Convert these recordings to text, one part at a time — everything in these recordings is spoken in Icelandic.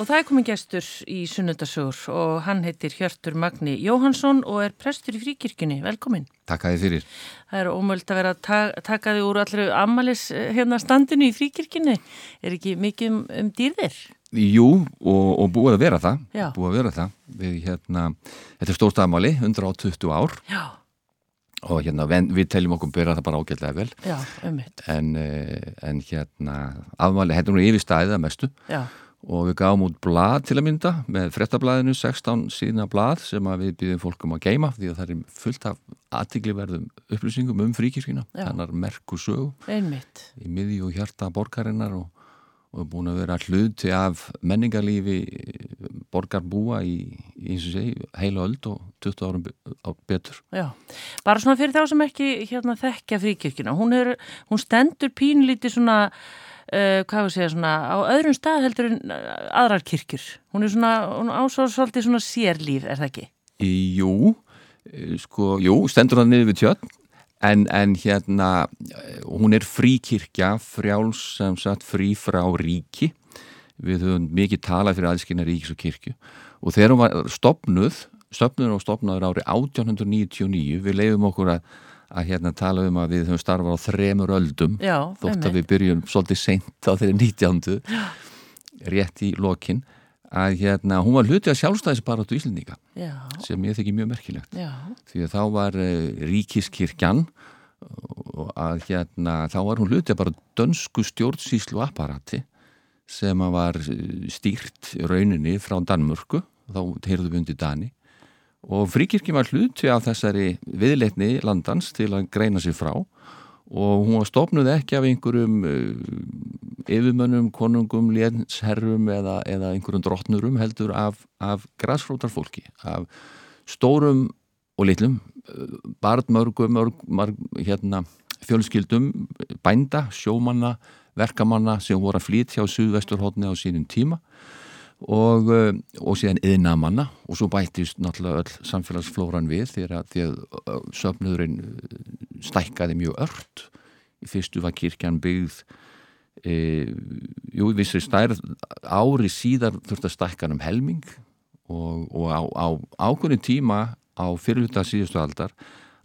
Og það er komin gestur í sunnundasögur og hann heitir Hjörtur Magni Jóhansson og er prestur í fríkirkjunni. Velkomin. Takk að þið fyrir. Það er ómöld að vera að ta taka þig úr allri amalis hérna standinu í fríkirkjunni. Er ekki mikið um, um dýrðir? Jú, og, og búið að vera það. Já. Búið að vera það. Við hérna, þetta er stórt afmáli, 120 ár Já, og hérna ven- við teljum okkur byrja það bara ágætlega vel. já, ummitt. En, eh, en hérna, afmáli, hérna er nú yfirstæðið að mestu Já, og við gáum út blad til að mynda með frettablaðinu, 16 síðna blad sem að við býðum fólkum að geima því að það er fullt af aðtikliverðum upplýsingum um fríkirkina. Já. Þannig er merku sögu. ummitt. í miðju og hjarta borgarinnar og, og búin að vera hluti af menningarlífi eh, borgarbúa í, í eins og segi, heila öld og 20 árum be- á betur. Já, bara svona fyrir þá sem ekki hérna þekkja fríkirkjuna, hún, er, hún stendur pínlítið svona, uh, hvað við segja svona, á öðrum stað heldur en eh, aðrar kirkjur. Hún er svona, hún ásóð svolítið svona sérlíf, er það ekki? Í, jú, eh, sko, jú, stendur það niður við tjötn, en, en hérna, eh, hún er fríkirkja, frjáls sem sagt frí frá ríki. Við höfum mikið talað fyrir aðskynna ríkis og kirkju og þegar hún var stopnuð, stopnuður og stopnaður ári 1899, við leifum okkur að, að hérna tala um að við höfum starfað á þremur öldum Já, þótt að einmitt. við byrjum svolítið seint á þeirri 19. rétt í lokin að hérna, hún var hluti af sjálfstæðisbaratu Íslendinga Já, sem ég þykir mjög merkilegt já, því að þá var uh, ríkiskirkjan og að hérna þá var hún hluti af bara dönsku stjórnsýslu apparati sem að var eh, stýrt í rauninni frá Danmörku þá heyrðum við undir Dani og fríkirkjum var hluti af þessari viðleitni landans til að greina sér frá og hún var stofnuð ekki af einhverjum eh, yfirmönnum, konungum, lénsherrum eða, eða einhverjum drottnurum heldur af, af græsfrótarfólki af stórum og litlum eh, barnmörgum mörg, mörg, hérna, fjölskyldum eh, bænda, sjómanna verkamanna sem voru að flytja á suðvesturhóttni á sínum tíma og, eh, og síðan yðnamanna og svo bættist náttúrulega öll samfélagsflóran við því að, því að eh, söfnuðurinn eh, stækkaði mjög ört í fyrstu var kirkjan byggð e, jú, í vissri stærð ári síðar þurfti að stækka hann um helming og, og á, á ákveðinu tíma á fyrirluta síðustu aldar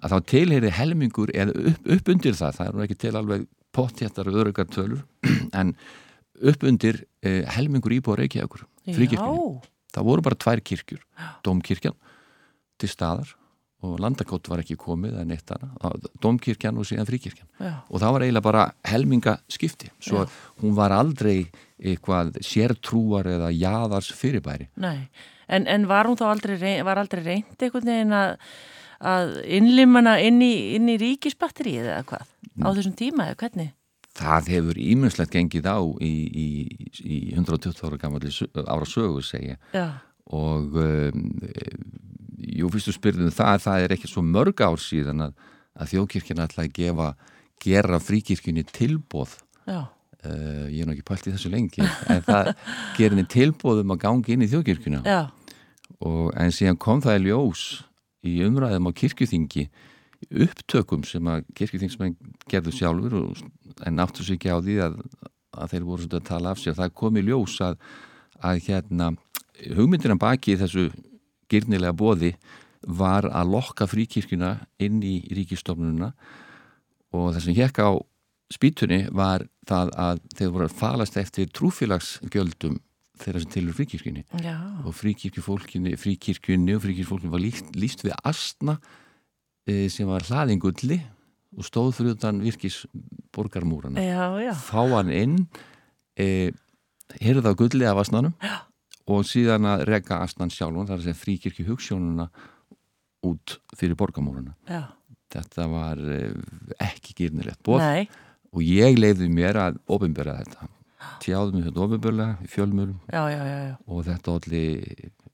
að þá tilheyri helmingur eða upp, upp undir það, það eru ekki til alveg pottjættar og örugar tölur en upp undir e, helmingur íbúið reykjaðugur, fríkirkjunni já, það voru bara tvær kirkjur, domkirkjan til staðar og landakott var ekki komið en eitt hana domkirkjan og síðan fríkirkjan já, og það var eiginlega bara helminga skipti svo Já. hún var aldrei eitthvað sértrúar eða jaðars fyrirbæri nei. En, en var hún þá aldrei, rey- var aldrei reynd einhvern veginn að, að innlimana inn í, inn í ríkisbatterið eða hvað? Á þessum tíma eða hvernig? það hefur ímjömslegt gengið á í, í, í 120 ára gamalli sö- ára sögu segja Já, og um, eh, jú, fyrstu spyrðum um það það er ekki svo mörg ár síðan að, að þjóðkirkjan ætlaði að gefa gera fríkirkjunni tilbóð já, uh, ég er nú ekki pælt í þessu lengi en það gerir henni tilbóðum að gangi inn í þjóðkirkjuna já, og, en síðan kom það í ljós í umræðum á kirkjuþingi upptökum sem að kirkjuþingsmenn gerðu sjálfur og, en áttu sér ekki á því að, að þeir voru svolítið að tala af sér. Það kom í ljós að, að hérna, hugmyndina baki í þessu gyrnilega bóði var að lokka fríkirkjuna inn í ríkistofnununa og það sem hekka á spýtunni var það að þeir voru að falast eftir trúfélagsgjöldum þeirra sem tilur fríkirkjunni já, og fríkirkjufólkinni, fríkirkjunni og fríkirkjufólkinni var líst, líst við astna e, sem var hlaðingulli og stóð fyrir utan virkis borgarmúrana. já, já. Fá hann inn, e, heyrða á gulli af astnanum og síðan að rega astnan sjálfan, þar að segja fríkirkju hugssjónuna út fyrir borgarmúrana. Já, Þetta var e, ekki gyrnilegt bóð nei, og ég leiði mér að ofinbera þetta. Tjáðum við þetta ofinberlega í fjölmjölum já, já, já, já, og þetta olli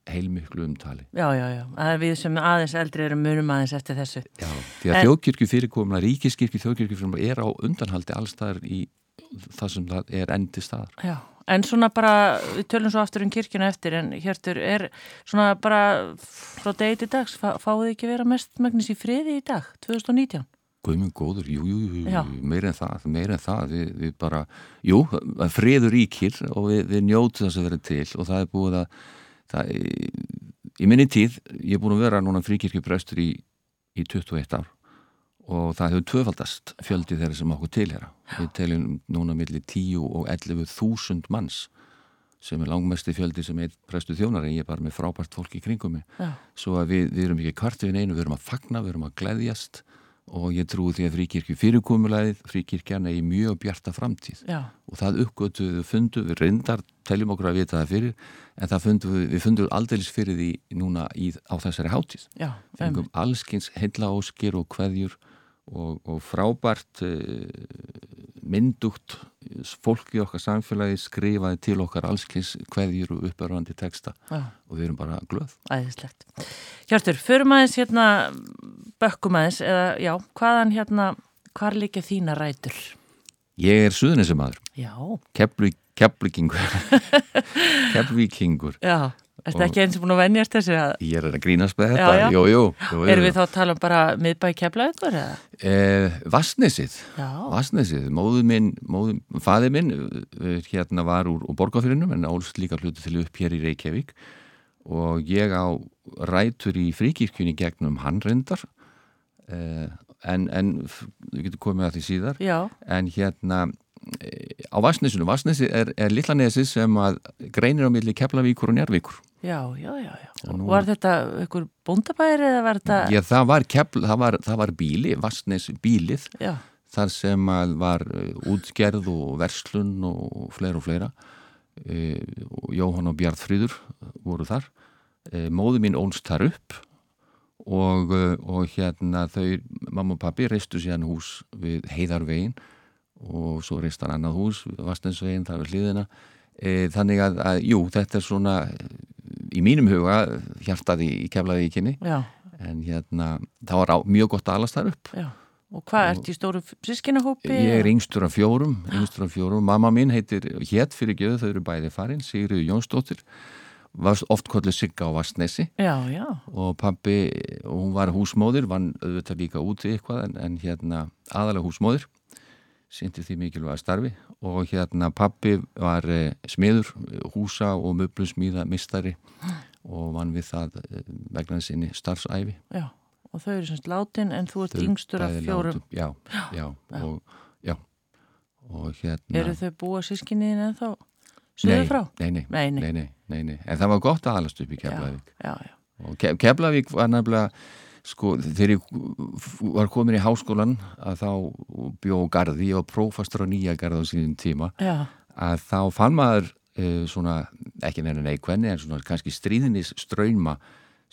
heilmiklu umtali. já, já, já, það er við sem aðeins eldri erum munum aðeins eftir þessu. Já, því að En- þjóðkirkju fyrirkomuna, ríkiskirkju, þjóðkirkju fyrirkomuna er á undanhaldi allstaðar í það sem það er endi staðar. Já, en svona bara, við tölum svo aftur um kirkjuna eftir, en Hjörtur, er svona bara frá degi til dags, fá, fáið þið ekki vera mest megnis í friði í dag, 2019? Guðmund góður, jú, jú, jú, Já. jú, meir en það, meir en það, við, við bara, jú, það er friður ríkir og við, við njótu þess að vera til og það er búið að, það, í minni tíð, ég er búin að vera núna fríkirkjuprestur í, í 21 ár og það hefur tvöfaldast fjöldi þeirra sem okkur tilhera. Við telum núna millir 10 og 11 þúsund manns sem er langmesti fjöldi sem einn prestur þjónar en ég er bara með frábært fólk í kringum mig Já. svo að við, við erum ekki kvartu við neinu, við erum að fagna, við erum að gleðjast og ég trúi því að fríkirkju fyrirkomulæðið, fríkirkjan er í mjög bjarta framtíð Já, og það uppgötu við fundum, við reyndar teljum okkur að vita það fyrir, en það fundum við, við fundum aldeilis fyrir því núna í, á þessari hátíð já, um, fengum allskins heilla óskir og kveðjur og, og frábært uh, myndugt fólk í okkar samfélagi skrifaði til okkar allskins kveðjur og upparvandi texta já, og við erum bara glöð. æðislegt. Hjartur, förum aðeins hérna, bökkum aðeins, eða já, hvaðan hérna, hvar líka þína rætur? Ég er suðunisemadur, Já, keflvík, keflvíkingur, keflvíkingur. já, er þetta ekki eins og búin að venjast þessu að... Ég er að grínast með Já, þetta, já. jú, jú. jú, jú. Erum við þá að tala um bara miðbæ keflaðugur eða? Eh, Vassnesið, Já, Vassnesið, móður minn, móður, faðið minn eh, hérna var úr, úr borgarfyrinum en álst líka hlutu til upp hér í Reykjavík og ég á rætur í fríkirkjunni gegnum hann reyndar eh, en, en f- við getum komið að því síðar já, en hérna eh, á Vassnesinu, Vassnesi er, er litlanesi sem að greinir á milli Keflavíkur og Njárvíkur já, já, já, já. Og nú- Var þetta ykkur bóndabæri eða var þetta... Já, það var, kepl, það var, það var bíli, Vassnes bílið já, þar sem að var eh, útgerð og verslun og fleira og fleira e, og Jóhann og Bjartfríður voru þar e, móðu mín ólst þar upp og, eh, og hérna þau, mamma og pappi reistu síðan hús við heiðarvegin og svo reist hann annað hús vastensvegin þar við hliðina e, þannig að, að, jú, þetta er svona eh, í mínum huga hjartaði í keflaði kynni já, en hérna, það var á, mjög gott að alast þar upp já. Og hvað, ertu í stóru sískinahópi? Ég er yngstur af fjórum, yngstur af fjórum. Mamma mín heitir, hétt fyrir göðu, þau eru bæði farin, Sigriður Jónsdóttir, var oft kollið Sigga á Vastnesi Já, já, og pabbi, og hún var húsmóðir, vann auðvitað líka úti eitthvað en, en hérna aðalega húsmóðir, sýndi því mikilvæga starfi og hérna pabbi var eh, smiður, eh, húsa og möblusmíða mistari og vann við það eh, vegna sinni starfsæfi. já. Og þau eru semst látin en þú ert Þau yngstur af bæði fjórum. látum- Já, já, og já. Og hérna... Eru þau búa sískinniðin en þá Nei, söðu frá? Nei, nei, Nei, nei. nei, nei, nei, nei. En það var gott að alast upp í Keflavík. Já, já, já. Og Ke Keflavík var nefnilega, sko, þegar ég var komin í háskólan að þá bjó á garði, ég var prófastur á nýja garði á sínum tíma, Já, að þá fann maður uh, svona, ekki neina neikvenni, en svona kannski stríðinis ströyma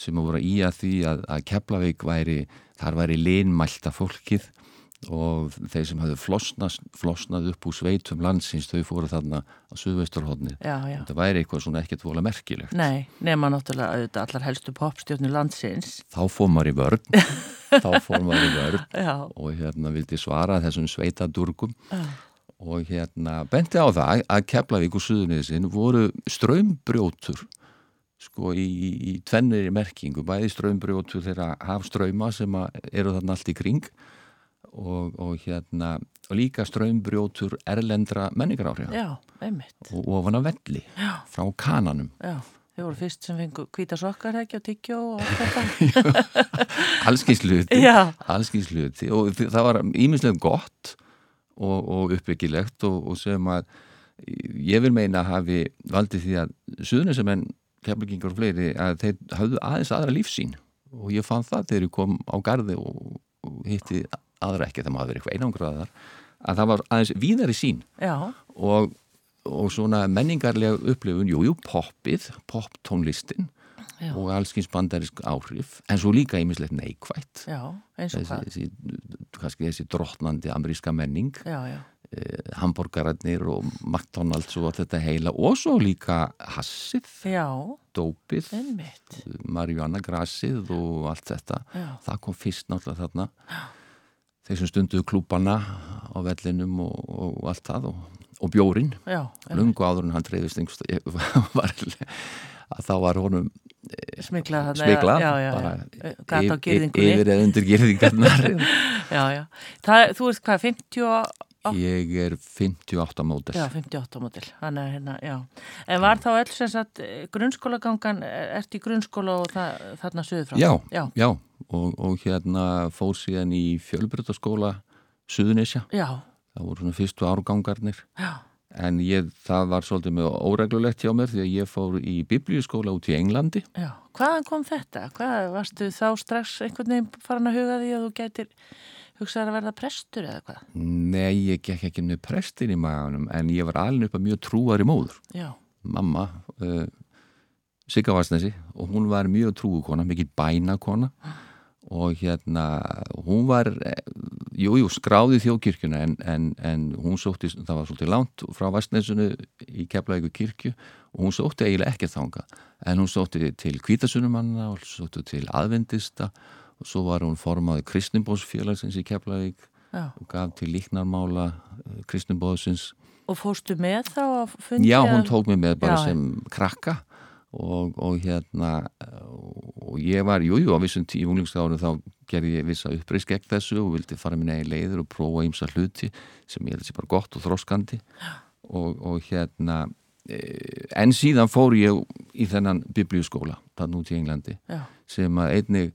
sem voru í að því að, að Keflavík væri, þar væri linmælta fólkið og þeir sem hafðu flosnað, flosnað upp úr sveitum landsins, þau fóru þarna á suðveisturhóðnið já, já. þetta væri eitthvað svona ekkert vola merkilegt Nei, nema náttúrulega auðvitað allar helstu popstjórnir landsins. þá fór maður í vörn þá fór maður í vörn Já, og hérna vildi svara þessum sveitadurgum já, og hérna benti á það að Keflavík og Suðunisinn voru strömbrjótur sko í, í, í tvennir merkingu, bæði strömbrjótur þeirra hafströyma sem að eru þarna allt í kring og, og hérna og líka strömbrjótur erlendra menningaráhrif já, einmitt. og ofan af velli Já. frá kananum Já, þau voru fyrst sem fengu hvíta sokkar ekki og tyggjó og allt þetta. allskins hluti Já. allskins hluti og þi- það var íminslega gott og, og uppbyggilegt og, og sem að ég vil meina að hafi valdið því að suðnusamenn, keflingingar og fleiri að þeir hafðu aðeins aðra lífsín og ég fann það þegar ég kom á garði og, og hitti aðra ekki það maður verið eitthvað einangraðar að það var aðeins víðari sín Já, og, og svona menningarlega upplifun, jújú, jú, poppið, poptónlistin Já. og allskins bandarisk áhrif, en svo líka ímislegt neikvætt, já, eins og þessi, hvað. þessi, kannski þessi drottnandi ameríska menning, Já, já, eh, hamborgararnir og McDonalds og allt þetta heila og svo líka hassið, já, dópið, einmitt. marihuana grasið og allt þetta. Já. Það kom fyrst náttúrulega þarna. Þeir sem stunduðu klúbana á vellinum og, og allt það og, og bjórinn Já, einmitt. lungu áður en hann dreifist einhversta, var að þá var honum smikla þarna, smigla já, já, já, bara já. Gat á yf- gyrðingunni. yfir eða undir gyrðingarnar já, já. Það, þú ert hvað, 50 og, ég er 58 mótel já, 58 mótil þannig að hérna, já, en var þá öll sem sagt eh, grunnskólagangan eh, ert í grunnskóla og það, þarna söður frá já, já, já og, og hérna fór síðan í fjölbrytaskóla Suðunisja, já, það voru svona fyrstu árgangarnir já, en ég, það var svolítið með óreglulegt hjá mér því að ég fór í biblíuskóla út í Englandi já. hvaðan kom þetta? Hvað, varstu þá strax einhvern veginn farin að huga því að þú gætir hugsaðar að verða prestur eða hvað? Nei, ég gekk ekki með prestin í maðunum en ég var alin upp að mjög trúari móður Já, mamma uh, Sigga Varsnesi og hún var mjög trúukona, mikil bænakona og hérna hún var, eh, jú, jú, skráði þjóðkirkjuna en, en, en hún sótti, það var svolítið langt frá Varsnesunu í Keflavíku kirkju og hún sótti eiginlega ekki þanga en hún sótti til kvítasunumanna og sótti til aðvendista og svo var hún formaði kristnimbósfélagsins í Keflavík já. og gaf til líknarmála eh, kristnimbóðsins Og fórstu með þá að fundi? Já, hún að- tók mig með bara Já, já. sem krakka og, og hérna og ég var, jújú, jú, á vissum tí- í unglingsáru þá gerði ég vissa uppreist gegn þessu og vildi fara minna í leiður og prófa ímsa hluti sem ég held sér bara gott og þróskandi og, og hérna eh, en síðan fór ég í þennan biblíuskóla, þann út í Englandi Já, sem að einnig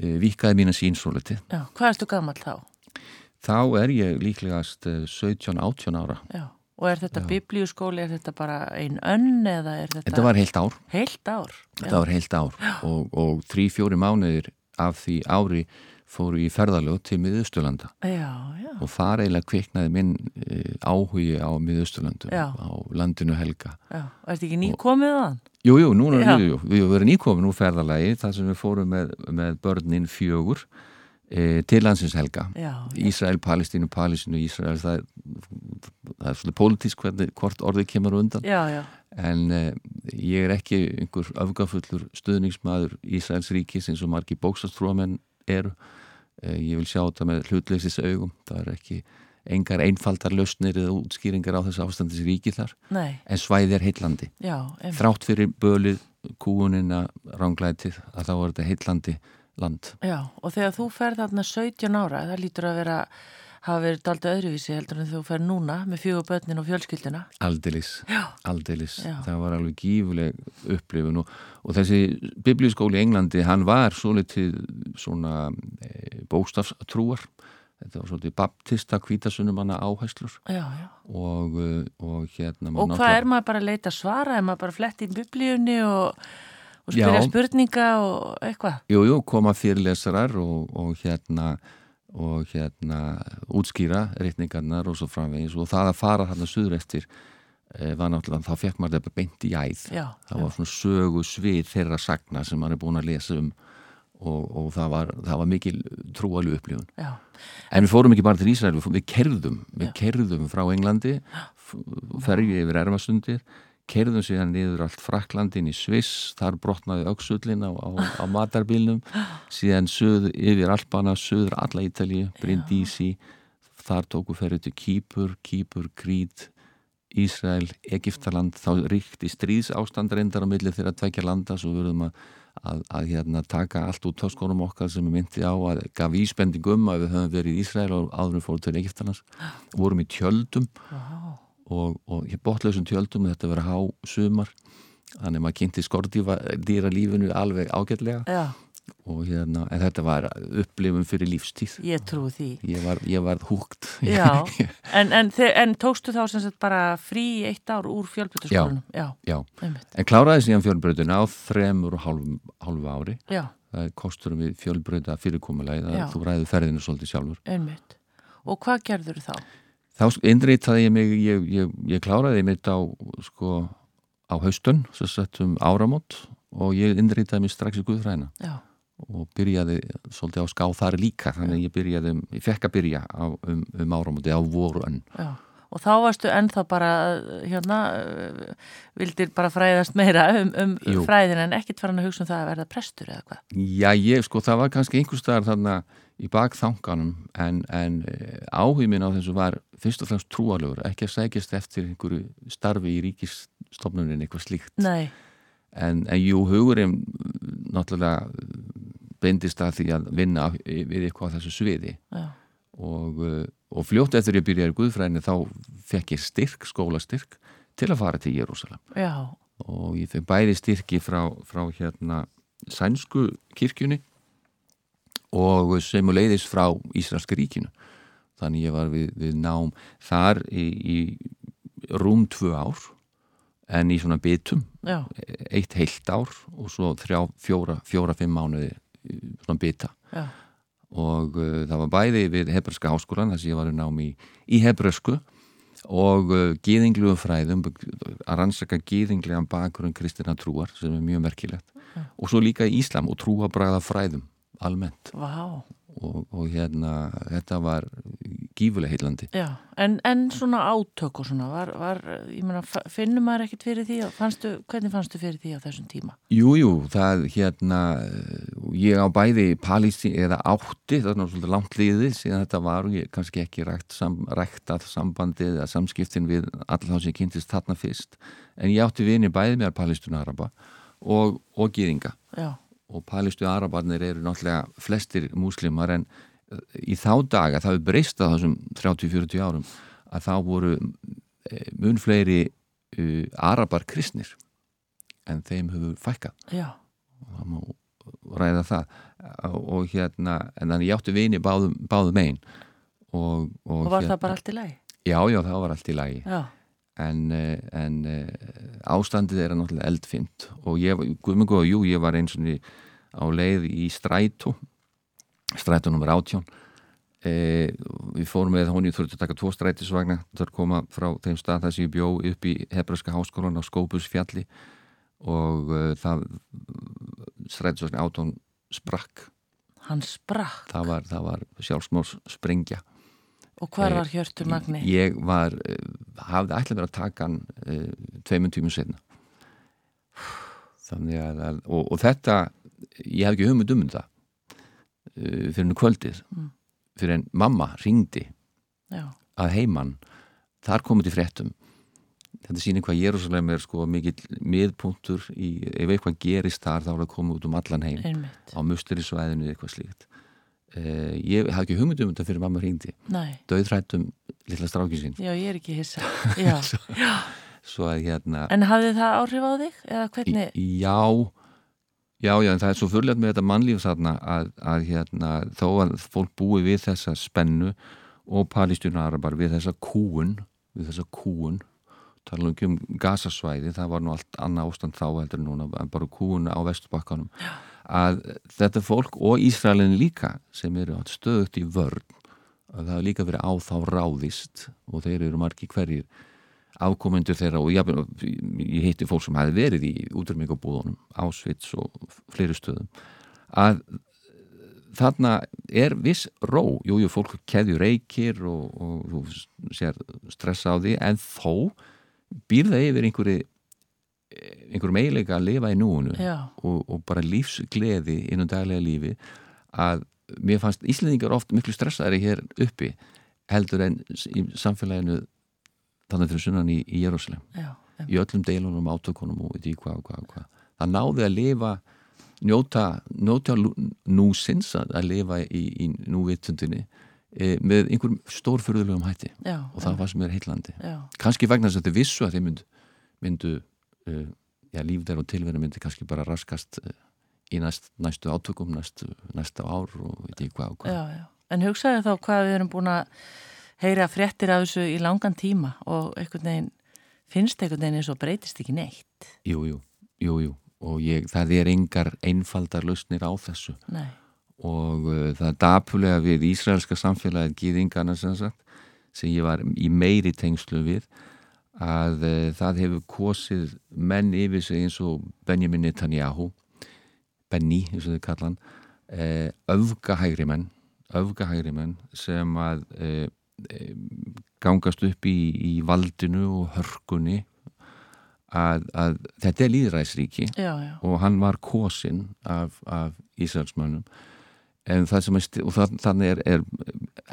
eh, vikaði mína sínsóliti já, hvað erstu gammal þá? þá er ég líklegast 17-18 ára Já, og er þetta biblíuskóli, er þetta bara ein önn eða er þetta, þetta var heilt ár heilt ár? Þetta var heilt ár og, og þrý, fjóri mánuðir af því ári fóru í ferðalög til Miðausturlanda Já, já, já, og það eiginlega kviknaði minn e, áhugi á Miðausturlandu, Já. á landinu helga. já, er þetta ekki nýkomið að hann? Jú, jú, núna, Já. jú, jú, við höfum verið nýkomin úr ferðalagi þar sem við fórum með, með börnin fjögur e, til landsins helga. Já, Ísrael, Palestínu, Palestínu, Ísrael, það, það er svolítið pólitísk hvernig hvort orðið kemur á undan. já, já, en eh, ég er ekki einhver öfgafullur stuðningsmaður Ísraels ríkis eins og margi bóksastrúamenn eru. Eh, ég vil sjá þetta með hlutleisis augum. Það er ekki engar einfaldar lausnir eða útskýringar á þessu ástandis ríki þar. nei, En svæði er heillandi. já, einmitt. Þrátt fyrir bölið, kúunina, ránglætið að þá er þetta heillandi land. já, og þegar þú ferð þarna 17 ára, það lítur að vera, hafa verið daldið öðruvísi heldur en þú ferð núna með fjögur börnin og fjölskylduna. Aldeilis, Já. aldeilis, Já. það var alveg gífuleg upplifun og, og þessi biblíuskóli í Englandi, hann var svolítið svona e, bóstafstrúar, þetta var svolítið baptista kvítasunumanna áhæslur Já, já. og, eh, og hérna Og hvað er maður bara að leita svara? Er maður bara að fletta í biblíunni og, og Já. spyrja spurninga og eitthvað? Jú, jú, koma fyrirlesarar og, og hérna og hérna útskýra reikningarnar og svo framvegis og það að fara þarna suður eftir eh, var náttúrulega, þá fekk maður þetta beint í æð Já, það var svona sögu svið þeirra sagna sem maður er búin að lesa um og, og það, var, það var mikil trúalu upplifun já, en við fórum ekki bara til Ísrael, við, fórum, við kerðum við kerðum frá Englandi f- ferju yfir Ermasundir kerðum síðan niður allt Fraklandin í Sviss, þar brotnaði auksullin á, á, á matarbílnum síðan söð, yfir Alpana, söður alla Ítalíu, Brindisi þar tóku ferju til Kýpur Kýpur, Krít Ísrael, Egiptaland, þá ríkti stríðs ástandreindar á milli þeirra tvekja landa svo verðum að, að, að hérna, taka allt út töskunum okkar sem er myndi á að gaf íspendingum að við höfum verið í Ísrael og áðurum fórum til Egiptalands vorum í tjöldum já. og, og ég botlausum tjöldum þetta verið há sumar þannig að maður kynnti skordýva dýra lífinu alveg ágætlega já. og hérna, en þetta var upplifum fyrir lífstíð Ég trúi því. ég var, ég var húgt Já, en, en, þe- en tókstu þá sem sagt bara frí í eitt ár úr fjölbyrðarskólanum? Já. Já. Já, einmitt. en kláraði síðan fjölbröðuna á þremur og hálfu, hálfu ári Já, það er kosturum við fjölbreyta fyrirkomulegi Já. að þú ræður ferðinu svolítið sjálfur einmitt. Og hvað gerður þá? þá innreitaði ég mig ég, ég, ég kláraði mitt á sko, á haustun, svo sett um áramót og ég innreitaði mig strax í Guðfræna Já, og byrjaði svolítið á ská þar líka þannig að ég byrjaði, um- ég fekk að byrja á, um, um áramóti á vorun já. Og þá varstu ennþá bara, hérna, eh, vildir bara fræðast meira um, um Jú. fræðin en ekkert farin að hugsa um það að verða prestur eða hvað? Já, ég, sko, það var kannski einhver staðar þarna í bakþanganum en, en áhugminn á þessu var fyrst og fremst trúalögur, ekki að sækjast eftir einhverju starfi í ríkisstofnunin, eitthvað slíkt Nei, en, en jú, hugurinn náttúrulega beindist að því að vinna við eitthvað á þessu sviði já, og, uh, og fljótt eftir ég byrjaði í Guðfræðinni þá fekk ég styrk, skólastyrk til að fara til Jérúsalam já, og ég fekk bæði styrki frá, frá hérna sænsku kirkjunni og semuleiðis frá Ísraelska ríkinu þannig ég var við, við nám þar í, í rúm tvö ár en í svona bitum já, eitt heilt ár og svo þrjá, fjóra, fjóra, fimm mánuði í svona bita já, og uh, það var bæði við Hebreska háskólan þess að ég var í námi í, í Hebresku og uh, gýðingljum fræðum að rannsaka gýðinglegan bakgrunn kristina trúar sem er mjög merkilegt og svo líka í Íslam og trúabræða fræðum almennt vá, og, og hérna þetta var gífuleg heillandi já. En, en svona átök og svona, var, var ég meina, fa- finnur maður ekkert fyrir því, á- fannstu, hvernig fannstu fyrir því á þessum tíma? Jújú, jú, það hérna, eh, ég á bæði palísi eða átti, það er náttúrulega svolítið langt liðið síðan þetta var og ég kannski ekki rækt, sam, rækt að sambandið eða samskiptin við alla þá sem ég kynntist þarna fyrst. En ég átti vini bæði með palístun araba og, og gýðinga Já, og palístu arabarnir eru náttúrulega flestir múslimar en eh, í þá daga, það hefur breyst að þessum 30-40 árum, að þá voru eh, mun fleiri uh, arabar kristnir en þeim hefur fækkað já, og það má ræða það og hérna, en þannig ég átti vini báðum, báðum einn og, og, og var hérna, það bara allt í lagi? já, já, það var allt í lagi Já, en, eh, en eh, ástandið er náttúrulega eldfimt og ég, guðmengu og jú, ég var eins og niður á leið í strætó strætó nummer 18 eh, við fórum með hún ég þurfti að taka tvo strætisvagna þar koma frá þeim stað þar sem ég bjó upp í Hebreska háskólan á Skópusfjalli og eh, það strætisvagna 18 sprakk hann sprakk. það var, það var sjálfsmórs sprengja Og hvar Eh, var Hjörtur Magni? ég var, eh, hafði ætlað mér að taka hann uh, tveimund tímum setna þannig að að- og, og þetta, ég hef ekki hugmynd um þetta uh, fyrir hennu kvöldið Mm. fyrir en mamma ringdi Já, að heiman þar komið til fréttum þetta sýnir hvað Jérúsalem er sko mikill miðpunktur í, ef eitthvað gerist þar þá er það komið út um allan heim einmitt. á musterisvæðinu eða eitthvað slíkt uh, ég hafði ekki hugmynd um þetta fyrir mamma ringdi Nei, döðrættum litla strákin sín já, ég er ekki hissa. Já, svo að hérna en hafði það áhrif á þig? Eða hvernig? í- já, já, já, en það er svo fyrrlega með þetta mannlíf þarna að, að hérna, þó að fólk búi við þessa spennu og palestínarabar við þessa kúun við þessa kúun tala nú ekki um gasasvæði, það var nú allt annað ástand þá heldur en núna, en bara kúun á vesturbakkanum, að þetta fólk og Ísraelin líka sem eru átt stöðugt í vörn að það hefur líka verið á þá ráðist og þeir eru margi hverjir afkomendur þeirra og jafnir, ég hitti fólk sem hefði verið í útrymingabúðunum, Ásvits og fleiri stöðum að þarna er viss ró, jújú, jú, fólk keðjur reykir og, og þú sér stressa á því, en þó býr það yfir einhverju einhverjum eiginleika að lifa í núinu Já, og, og bara lífsgleði innan daglega lífi að mér fannst Íslendingar oft miklu stressaðari hér uppi heldur en s- í samfélaginu þannig fyrir sunnan í, í Jérúsalem já, einmitt. í öllum deilunum, átökunum og veit ég hvað, hvað, hvað það náði að lifa njóta, njóta lú- núsins að að lifa í, í núvitundinni e, með einhverjum stórfyrðulegum hætti já. og það fannst mér heitlandi Já, kannski vegna þess að þið vissu að þið mynd, myndu uh, já, líf þeirra og tilverið myndi kannski bara raskast uh, í næst, næstu átökum næstu, næsta ár og veit ég hvað og hvað. já, já. En hugsaðu þá hvað við erum búin að heyra fréttir af þessu í langan tíma og einhvern veginn, finnst einhvern veginn eins og breytist ekki neitt. Jú, jú, jú, jú og ég, það er engar einfaldar lausnir á þessu Nei, og uh, það er dapulega við ísraelska samfélagið gýðingana sem sagt sem ég var í meiri tengslu við að uh, það hefur kosið menn yfir sig eins og Benjamin Netanyahu Benny, eins og þau kalla hann uh, öfgahægri menn öfgahægri menn sem að uh, gangast upp í, í valdinu og hörkunni að, að þetta er líðræðsríki já, já, og hann var kosinn af, af Ísraelsmönnum en það sem er, sti- og það, þannig er, er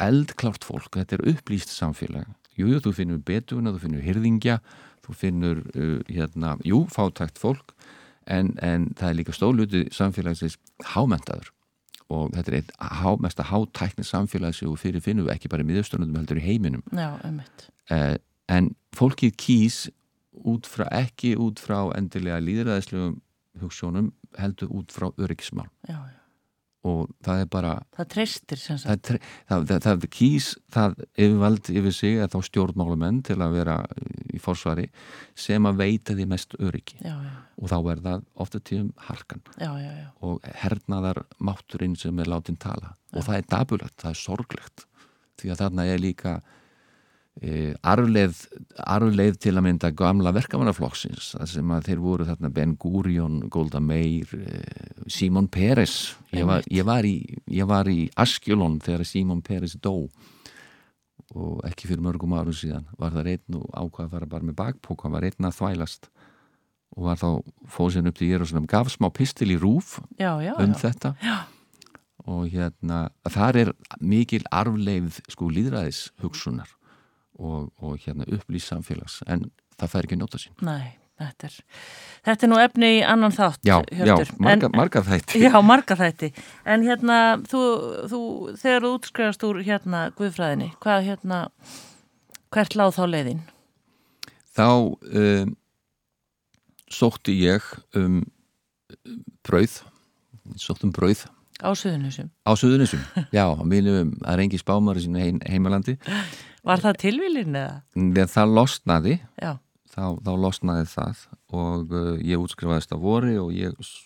eldklárt fólk, þetta er upplýst samfélag jú, jú, þú finnur betuna, þú finnur hyrðingja, þú finnur uh, hérna, jú, fátækt fólk en, en það er líka stóluti samfélagsins hámentaður og þetta er eitt há, mesta hátækni samfélags og fyrir finnum við ekki bara í miðausturnundum heldur í heiminum já, einmitt. eh, en fólkið kýs út frá, ekki út frá endilega líðræðislegum hugssjónum heldur út frá öryggismál Já, já. og það er bara Það treystir sem sagt. það, tre- það, það, það kýs það yfirvald yfir sig eða þá stjórnmálamenn til að vera eh, í forsvari sem að veita því mest öryggi Já, já, og þá er það ofta tíðum harkan já, já, já. og hernaðar mátturinn sem er látin tala og það er dabulegt, það er sorglegt því að þarna er líka e, arfleð, arfleð til að mynda gamla verkamannaflokksins þar sem að þeir voru þarna Ben Gurion, Golda Meir e, Simon Peres ég var, Einmitt. ég, var í, ég var í Askjölon þegar Simon Peres dó og ekki fyrir mörgum árum síðan var það einn og ákvað að fara bara með bakpók hann var einn að þvælast og var þá fóð sérn upp til Jérúsalem gaf smá pistil í rúf Já, já, um já. þetta og hérna, þar er mikil arfleifð sko líðræðis hugsunar og, og hérna upplýs samfélags en það fær ekki að njóta sín Nei, þetta er, þetta er nú efni í annan þátt, Já, Hjörtur. já, marga, marga þætti Já, marga þætti. En hérna, þú, þú, þegar þú útskrifast úr hérna guðfræðinni, hvað hérna, hvert láð þá leiðin? Þá um, sótti ég um um, brauð sótti um brauð Á suðunusum. á Suðunisum, já, á mínum að rengi spámari sínu heim, heimalandi Var það tilvílin eða? en það losnaði Já, þá, þá losnaði það og uh, ég útskrifaðist á vori og ég s-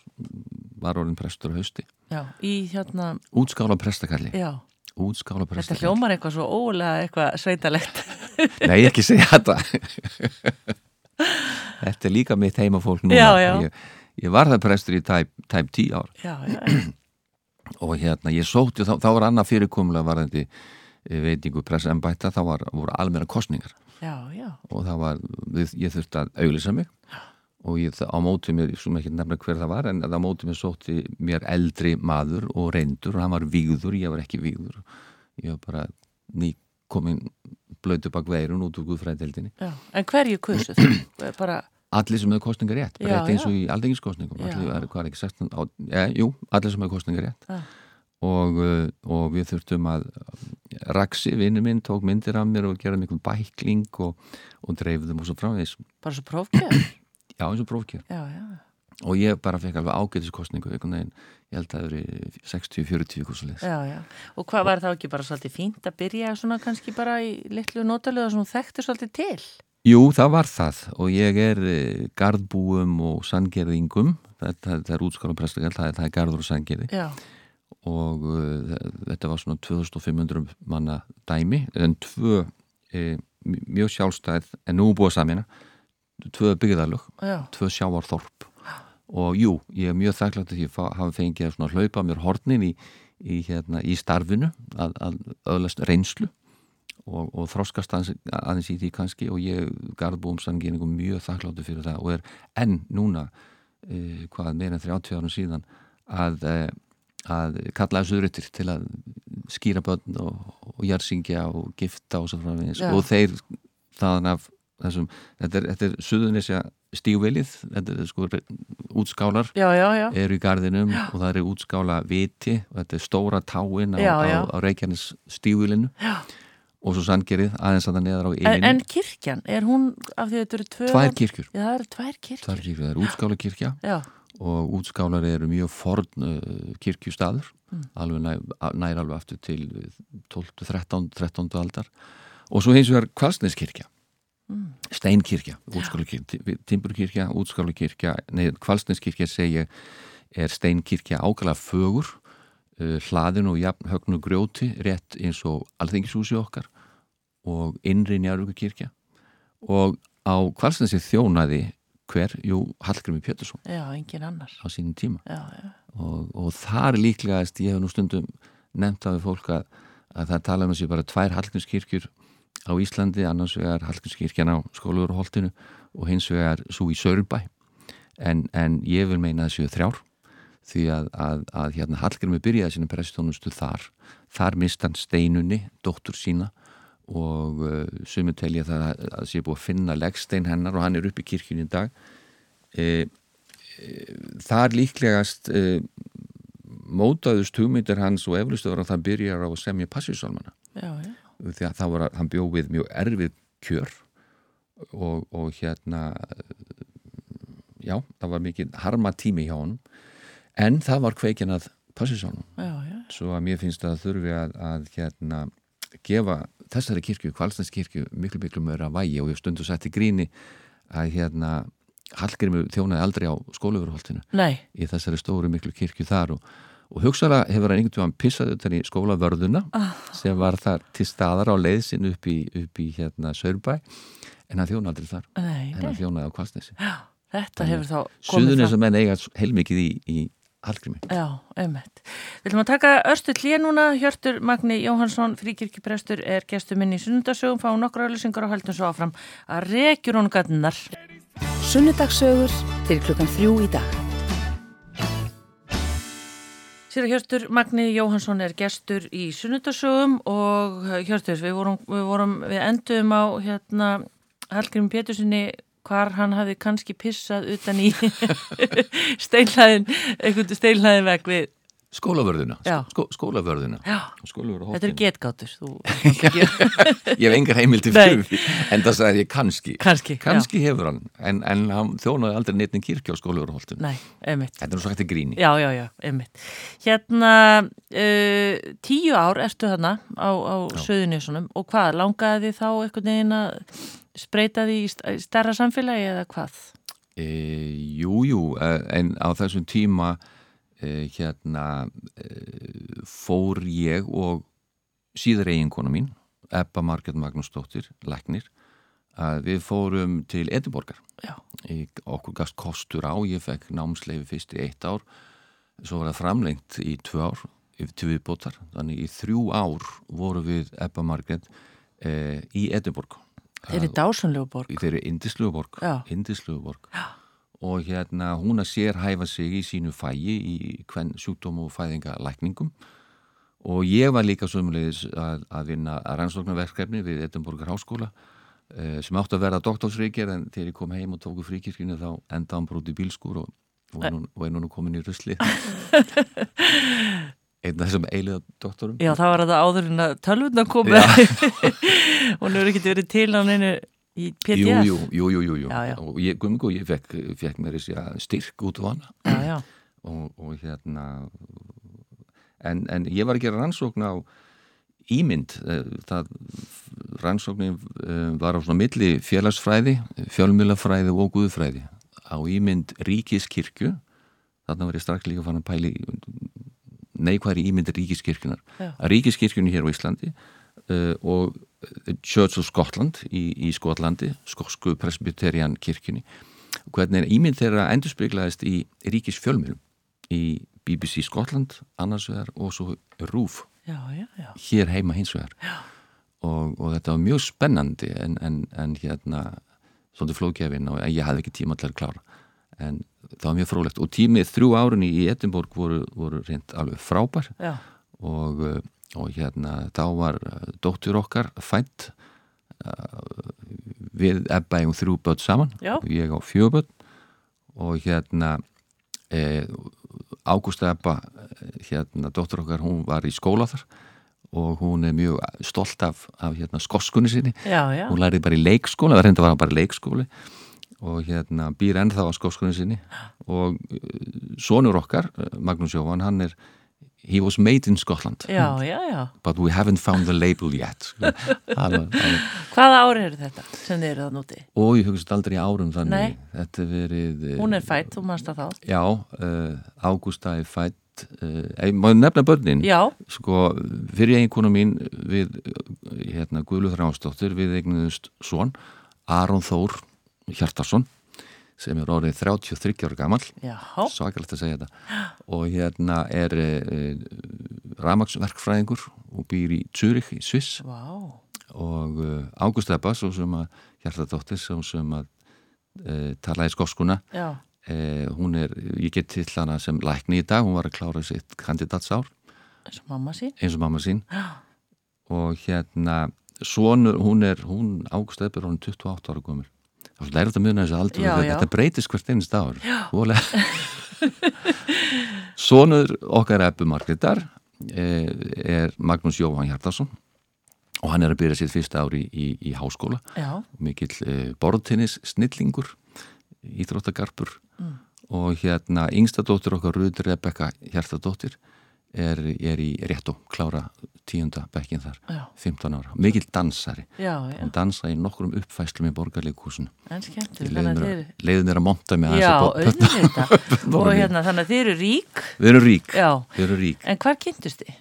var orðin prestur á hausti. já, í hérna, Útskála prestakalli. já. Útskála Þetta prestakalli. hljómar eitthvað svo ólega eitthvað sveitalegt. Nei, ekki segja þetta. þetta er líka mitt heimafólk núna. Já, já. Ég, ég var það prestur í tæp, tæp tí ár Já, já, já. og hérna ég sótti, þá, þá var annað fyrirkomlega varðandi eh, veitingu pressembætta, þá var, voru almenna kostningar. já, já. og það var, við, ég þurfti að auglýsa mig og ég, á móti mér, sem ekki nefna hver það var en á móti mér sótti mér eldri maður og reyndur og hann var vígður, ég var ekki vígður ég var bara ný komin blöytu bak veirun út úr guðfræðdeldinni Já, en hverju kursu þú? Bara, allir sem hefur kostningar rétt, Já, bara rétt eins og já. í aldengiskostningum, Já. allir, er, hvað er ekki 16 á, ja, jú, allir sem hefur kostningar rétt Já. og, uh, og við þurftum að Raksi, vinnu minn, tók myndir af mér og gerði mikil bækling og, og dreifðum og svo framvegis bara svo prófkjör? já, eins og prófkjör Já, já, og ég bara fekk alveg ágætiskostningu einhvern veginn, ég held að það eru 60-40 eitthvað svo leiðis. já, já. Og hvað var það ekki bara svolítið fínt að byrja svona kannski bara í litlu notalega sem þú þekktir svolítið til? Jú, það var það og ég er eh, garðbúum og sandgerðingum, þetta það er útskála prestakall, það, er- það er garður og sandgerði Já, og uh, þetta var svona 2500 manna dæmi, en tvö e, mjög sjálfstæð, en nú er búið að samina, tvö byggðarlög, já, tvö sjávarþorp og jú, ég er mjög þakklátt að ég fa- hafi fengið að svona hlaupa mér hornin í, í, hérna, í starfinu að, að öðlast reynslu og, og þroskast aðeins, aðeins í því kannski og ég garðbúum sanngeiningum mjög þakkláttu fyrir það og er enn núna uh, hvað meira en 30 árum síðan að, uh, að kalla þessu ryttir til að skýra börn og, og jarðsingja og gifta og svo framvegis Já. og þeir þaðan af þessum, þetta er, þetta er suðunisja stígvelið, þetta er sko re- útskálar já, já, já. eru í gardinum og það eru útskála viti og þetta er stóra táin á, Já, já. á, á Reykjanes stígvilinu og svo sandgerið aðeins að það neðar á En, eilinu en kirkjan, er hún af því að þetta eru tvö? tvær kirkjur, Já, það eru tvær kirkjur. tvær kirkjur, það er útskála kirkja Já, og útskálar eru mjög forn uh, kirkjustaður alveg næ, a- nær alveg aftur til uh, 12, 13, 13. aldar og svo hins vegar kvalsneskirkja mm. steinkirkja, útskálukirkja timburkirkja, útskálukirkja nei, kvalsneskirkja segja er steinkirkja ákala fögur uh, hlaðin og jafn högn og grjóti rétt eins og alþingishúsi okkar og innri njárvíkukirkja og á kvalsnesi þjónaði hver, jú, Hallgrimur Pétursson já, engin annar. á sínum tíma Já, já, og, og þar líklegast, ég hef nú stundum nefnt af fólk að, að það tala um að sé bara tvær Hallgrímskirkjur á Íslandi, annars vegar Hallgrímskirkjan á skólaugurholtinu og hins vegar svo í Sörbæ en, en ég vil meina að séu þrjár því að, að, að hérna Hallgrími byrjaði sína prestónustu þar þar mist hann steinunni, dóttur sína og uh, sumi telja það að, að sé búið að finna leggstein hennar og hann er upp í kirkjunni í dag e, þar líklegast uh, mótaðust hugmyndir hans og eflustöður að það byrjar á að semja passísálmana já, já. því að það var að hann bjóð við mjög erfið kjör og, og hérna eh, já, það var mikið harma tími hjá honum en það var kveikin að passísálmana já, já. svo að mér finnst að þurfi að, að hérna, gefa þessari kirkju, Kvalstans kirkju, miklu miklu meira vægi og ég stundu sætti gríni að hérna, Hallgrimur þjónaði aldrei á skólaverholtinu Nei, í þessari stóru miklu kirkju þar og, og hugsaðlega hefur hann einhvern tímann pissað utan í skólavörðuna Ah. sem var þar til staðar á leiðsinn upp í, upp í hérna, Sörbæ en hann þjónaði aldrei þar nei, en nei. hann þjónaði á Kvalstnesi Þetta hefur þá komið Suðunins að menn eiga heilmikið í, í Hallgrimi Já, einmitt. Viljum að taka örstu hlýja núna, Hjörtur Magni Jóhansson, fríkirkiprestur, er gestur minni í sunnundasögum, fá nokkra auðlýsingar og höldum svo áfram að rekjur hún gatnar. Sunnudagsögur til klukkan þrjú í dag. Sýra Hjörtur Magni Jóhansson er gestur í sunnundasögum og eh, Hjörtur, við vorum, við, vorum, við endum á hérna Hallgrim Pétursinni hvar hann hafði kannski pissað utan í steinlæðin, einhvern steinlæðin veg við. Skólavörðuna, Já. skó, skólavörðuna. Já, þetta Skólavörðholtinu eru getgátur, þú ég hef engar heimildi Nei. fyrir því en það sagði ég kannski kannski. já. kannski hefur hann en, en hann þjónaði aldrei neittin kirkja á skólaugurholtun Nei, einmitt. þetta er nú svo hægt að gríni Já, já, já, einmitt. Hérna, uh, tíu ár ertu þarna á, á Suðunjössunum og hvað, langaði þið þá einhvern veginn að spreita því í st- stærra samfélagi eða hvað? e, jú, jú, eh, en á þessum tíma e, hérna e, fór ég og síðar eiginkona mín Ebba Margrét Magnúsdóttir, læknir að við fórum til Ediborgar Já, ég, okkur gafst kostur á, ég fekk námsleifi fyrst í eitt ár svo var það framlengt í tvö ár yfir- til viðbótar, þannig í þrjú ár voru við Ebba Margrét eh, í Edinborg þeir eru dásunlegu borg. í þeirri Indisluborg, Já. Indisluborg. og hérna hún að sér hæfa sig í sínu fægi í hvern sjúkdóm og fæðingalækningum og ég var líka sömulegis að, að vinna að rannsóknarverkefni við Edinborgar háskóla eh, sem átti að vera doktorsreikir en þegar ég kom heim og tóku fríkirkinu þá enda hann brúti bílskur og, og, er, nú, og er núna komin í rusli einn af þessum eiliða doktorum Já, það var þetta áður en að tölvunna komu. Já. Hún hefur ekkert verið til hann einu í PTS. Jú, jú, jú, jú, jú, jú. Já, já. og ég, Gummi Gó, ég fekk, fekk mér þessi styrk út á hana Já, já, og, og hérna en, en ég var að gera rannsókn á ímynd eh, það rannsóknin eh, var á svona milli félagsfræði fjölmjölafræði og guðfræði á ímynd ríkiskirkju þarna var ég strax líka fann að pæli neikværi ímynd ríkiskirkjunar Já. að ríkiskirkjunni hér á Íslandi uh, og Church of Scotland í, í Skotlandi, skosku presbyterian kirkjunni hvernig ímynd þeirra endurspeglaðist í ríkisfjölmjölum í BBC Skotland annars vegar og svo RÚF já, já, já. hér heima hins vegar og, og þetta var mjög spennandi en, en, en hérna svolítið flókjafinn og ég hafði ekki tíma til að klára en það var mjög frólægt og tímið þrjú árunni í Edinborg voru, voru reynd alveg frábær já. og, uh, og hérna þá var uh, dóttir okkar fætt uh, við ebba eigum þrjú börn saman Já. og ég á fjögur börn og hérna eh, Ágústa ebba eh, hérna dóttir okkar hún var í skóla þar og hún er mjög stolt af, af hérna, skoskunni sinni Já, já. hún lærið bara í leikskóla, það reynda var hann bara í leikskóli og hérna býr ennþá á skóskunni sinni og eh, sonur okkar, eh, Magnús Jóhann, hann er he was made in Scotland Já, já, já. but we haven't found the label yet hann, var- hann, Hvaða ári eru þetta sem þið eru það núti? og ég hugsa þetta aldrei í árum þannig Nei. þetta er verið eh, Hún er fætt, þú manst það þá. já, uh, Ágústa er fætt uh, maður nefna börnin Já, sko, fyrir eiginkonu mín við, eh, hérna, Guðlu Þrásdóttir við eignuðust svon Aron Þór Hjartarsson sem er orðið 33 ára gamall já, svakalegt að segja þetta og hérna er e, ramagsverkfræðingur og býr í Zurich í Sviss vá, og e, Ágúst Ebba svo sem að Hjartardóttir svo sem að e, talaði skoskuna já. e, hún er, ég get til hana sem lækni í dag, hún var að klára sitt kandidatsár eins og mamma sín eins og mamma sín og hérna sonur, hún er, hún águstæður hún er 28 ára gömur Það er lærið að muna þessu aldur Já, þetta, já. þetta breytist hvert einnst ár Volega Sónur okkar eppu Margreðar er Magnús Jóhann Hjartarsson og hann er að byrja sitt fyrsta ári í, í, í háskóla já, mikill eh, borðtennis snillingur íþróttagarpur Mm. og hérna yngsta dóttir okkar Ruður Rebekka Hjartadóttir er, er í réttu, klára tíunda bekkin þar, Já. 15 ára mikill dansari, já, já, hann dansa í nokkrum uppfæslum í borgarleikúsinu en skemmtileg þannig að þið leiðin er að monta Já, með aðeins að auðvitað og borðin. hérna þannig að þið eru rík við erum rík, já, við erum rík en hvar kynntust þið?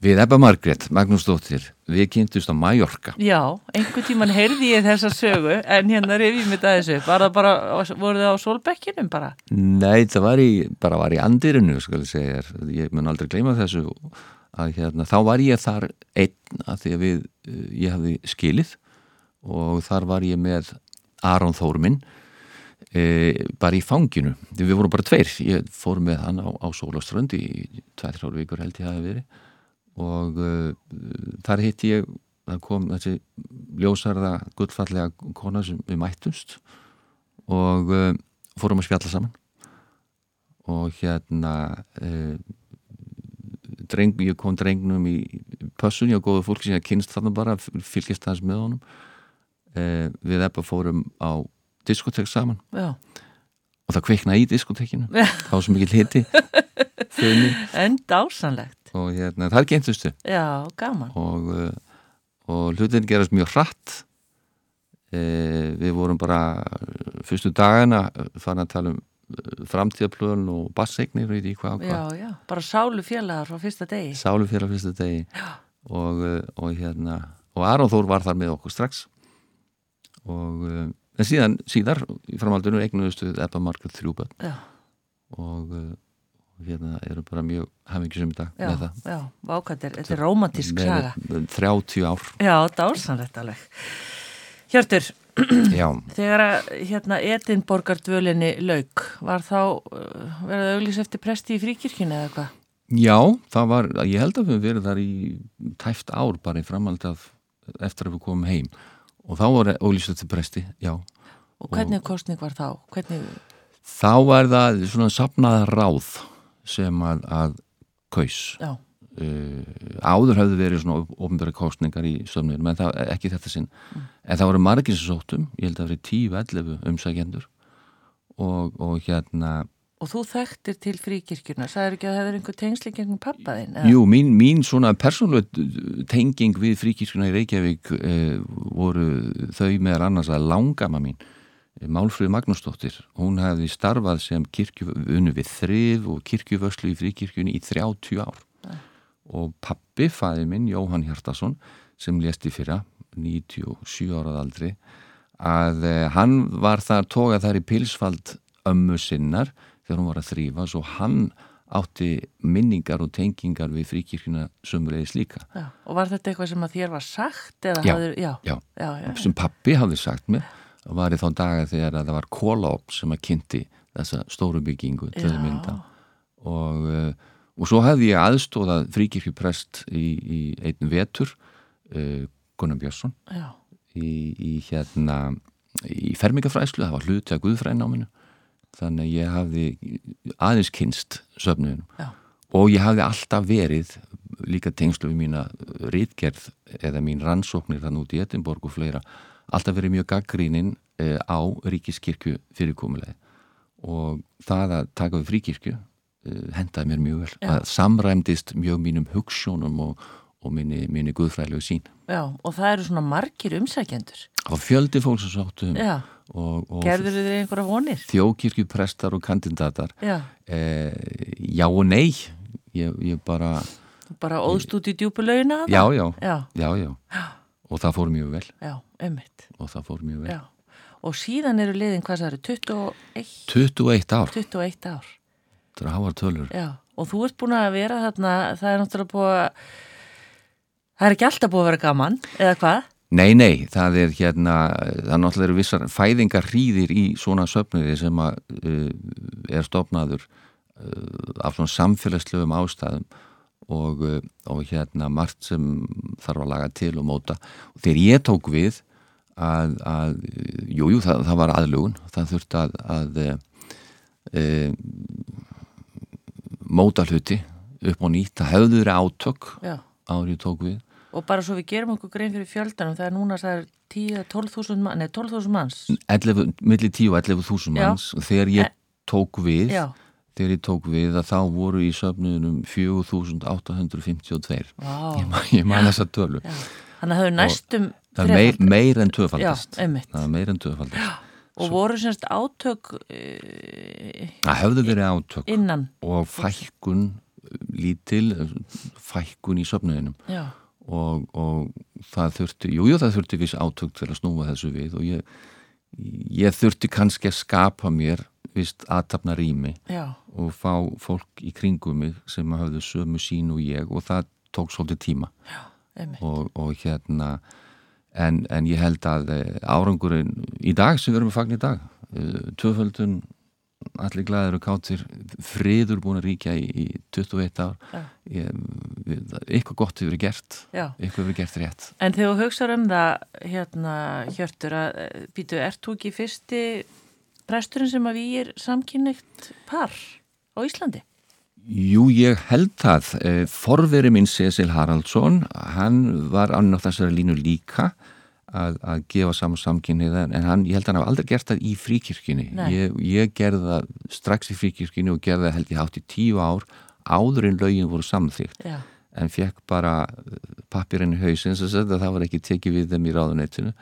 við Ebba Margrét, Magnúsdóttir við kynntumst á Mallorca Já, einhvern tíman heyrði ég þessa sögu en hérna reyfið mér það þessu var það bara, voru þið á solbekkinum bara? Nei, það var í, bara var í andirinu, skal ég segja, þér. ég mun aldrei gleyma þessu, að hérna, þá var ég þar einn að því að við, eh, ég hafði skilið og þar var ég með Aron Þórminn, e, bara í fanginu, við vorum bara tveir, ég fór með hann á, á Sólaströnd í tvær, þrjár vikur held ég hafi verið og uh, þar hitti ég, það kom þessi ljósarða gullfallega kona sem við mættumst og uh, fórum að spjalla saman og hérna uh, dreng, ég kom drengnum í pössun, ég á góðu fólki sem ég kynst þarna bara, fylgist aðeins með honum uh, við ebba fórum á diskotek saman Já, og það kveiknaði í diskotekinu þá sem ekki hliti þunni en dásanlegt og hérna, það er geintustu Já, gaman og, uh, og hlutin gerast mjög hratt e, við vorum bara eh, fyrstu dagana eh, farin að tala um eh, framtíðaplön og basseignir og ég veit í hvað og hvað Já, já, bara sálu félagar frá fyrsta degi sálu fyrir að fyrsta degi og, eh, og hérna og Aron Þór var þar með okkur strax og eh, en síðan síðar í framhaldinu eignuðustu Ebba Margreth þrjúböld Já, og eh, og hérna eru bara mjög hafingjusum í dag já, með það já, vákvættir, þetta er rómatísk saga Með 30 ár Já, dásanlegt alveg Hjörtur, Já, þegar að hérna Edinborgardvölinni lauk var þá uh, verið auglýs eftir presti í fríkirkjunni eða eitthvað? Já það var, ég held að við höfum verið þar í tæft ár bara í framhald af eftir að við komum heim og þá var ólýstu til presti, já Og hvernig kostning var þá? Hvernig, Þá var það svona sapnað ráð sem að, að kaus já, uh, áður hafði verið svona ofnbæra kostningar í sömnir, menn það, ekki þetta sinn en það voru margir sem sóttum ég held að það voru 10-11 umsækjendur og, og hérna og þú þekktir til fríkirkjuna sagður ekki að það hefur einhver tengsli gegn pappa þinn? eða? Jú, mín, mín svona persónuleg tenging við fríkirkuna í Reykjavík eh, voru þau meðal annars að langama mín eh, Málfröð Magnúsdóttir, hún hafði starfað sem kirkjuvönu við þrif og kirkjuvöslu í fríkirkjunni í 30 ár og pappi, fæði minn, Jóhann Hjartason sem lesti fyrra, 97 árað aldri að eh, hann var þar, tókað þar í pilsfald ömmu sinnar þegar hún var að þrýfa, svo hann átti minningar og tengingar við fríkirkuna sömulegis líka Já, og var þetta eitthvað sem að þér var sagt? eða Já, hafðir- já, já. já, já, já. sem pappi hafði sagt mér var í þá daga þegar að það var kólaop sem að kynnti þessa stóru byggingu til Já. að mynda og, eh, og svo hafði ég aðstóðað fríkirkjuprest í, í einn vetur uh, Gunnar Björnsson já. í, í hérna í fermingafræslu, það var hluti að guðfræðináminu þannig að ég hafði aðeins kynst söfnuðinu Já. og ég hafði alltaf verið líka tengslu við mína rítgerð eða mín rannsóknir þannig út í Edinborg og fleira, alltaf verið mjög gaggrínin eh, á ríkiskirkju fyrirkomulegi og það að taka við fríkirkju eh, hendaði mér mjög vel, það samræmdist mjög mínum hugssjónum og, og minni, minni guðfræðilegu sín Já, og það eru svona margir umsækjendur. Það var fjöldi fólk sem sáttum Já, og, og gerður þið einhverja vonir? þjókirkjuprestar og kandidatar Já, eh, já og nei ég, ég bara, þú bara óðst út í djúpulauna? já já, Já, já já og það fór mjög vel já, ummitt. og það fór mjög vel Já, og síðan eru liðin, hvað það eru, 21, 21 ár, 21 ár. það var tölur Já, og þú ert búin að vera þarna, það er náttúrulega búið að, það er ekki alltaf búið að vera gaman, eða hvað? Nei, nei, það er hérna, það náttúrulega eru vissar fæðingar hríðir í svona söfnuði sem að, uh, er stofnaður uh, af svona samfélagslegum ástæðum og, uh, og hérna margt sem þarf að laga til og móta. Og þegar ég tók við að, að jú, jú, það, það var aðlugun það þurfti að, að e, e, móta hluti upp á nýtt, það hefðu verið átök Já. árið tók við Og bara svo við gerum okkur grein fyrir fjöldanum, það er núna það er 10-12.000 manns, nei 12.000 manns. 11, milli 10 og 11 þúsund Já. manns og þegar ég E- tók við Já, þegar ég tók við að þá voru í söfnunum 4852 vá. ég, man- ég man þessa tölu Já. Þannig að það hefur næstum það er meir, þrefaldast. meir en töfaldast Já, einmitt. það er meir en töfaldast og voru semst átök eh, það hefðu verið átök innan. og fækkun eh, lítil eh, fækkun í söfnunum Já, og, og það þurfti, jújú jú, það þurfti viss átök til að snúa þessu við og ég, ég þurfti kannski að skapa mér vist aðtapna rými já, og fá fólk í kringum mig sem að hafðu sömu sín og ég og það tók svolítið tíma einmitt. og, og hérna en, en ég held að eh, árangurinn í dag sem við erum að fagna í dag eh, tvöföldun allir glæður og kátir friður búin að ríkja í, í 21 ár Já. ég, við, það- eitthvað gott hefur verið gert Já. eitthvað hefur verið gert rétt En þegar þú hugsaður um það, hérna, Hjörtur, að eh, býtu, ert þú ekki fyrsti presturinn sem að við er samkynniðt par á Íslandi? Jú, ég held það. Eh, Forveri minn Cecil Haraldsson, hann var annað þessari línu líka að, að gefa saman samkynniða en hann, ég held hann hafa aldrei gert það í fríkirkjunni. Nei. Ég, ég gerði það strax í fríkirkjunni og gerði það held ég hátt í tíu ár áður en lögin voru samþýgt Já, en fekk bara pappirinn í hausin sem sagt að það var ekki tekið við þeim í ráðuneytinu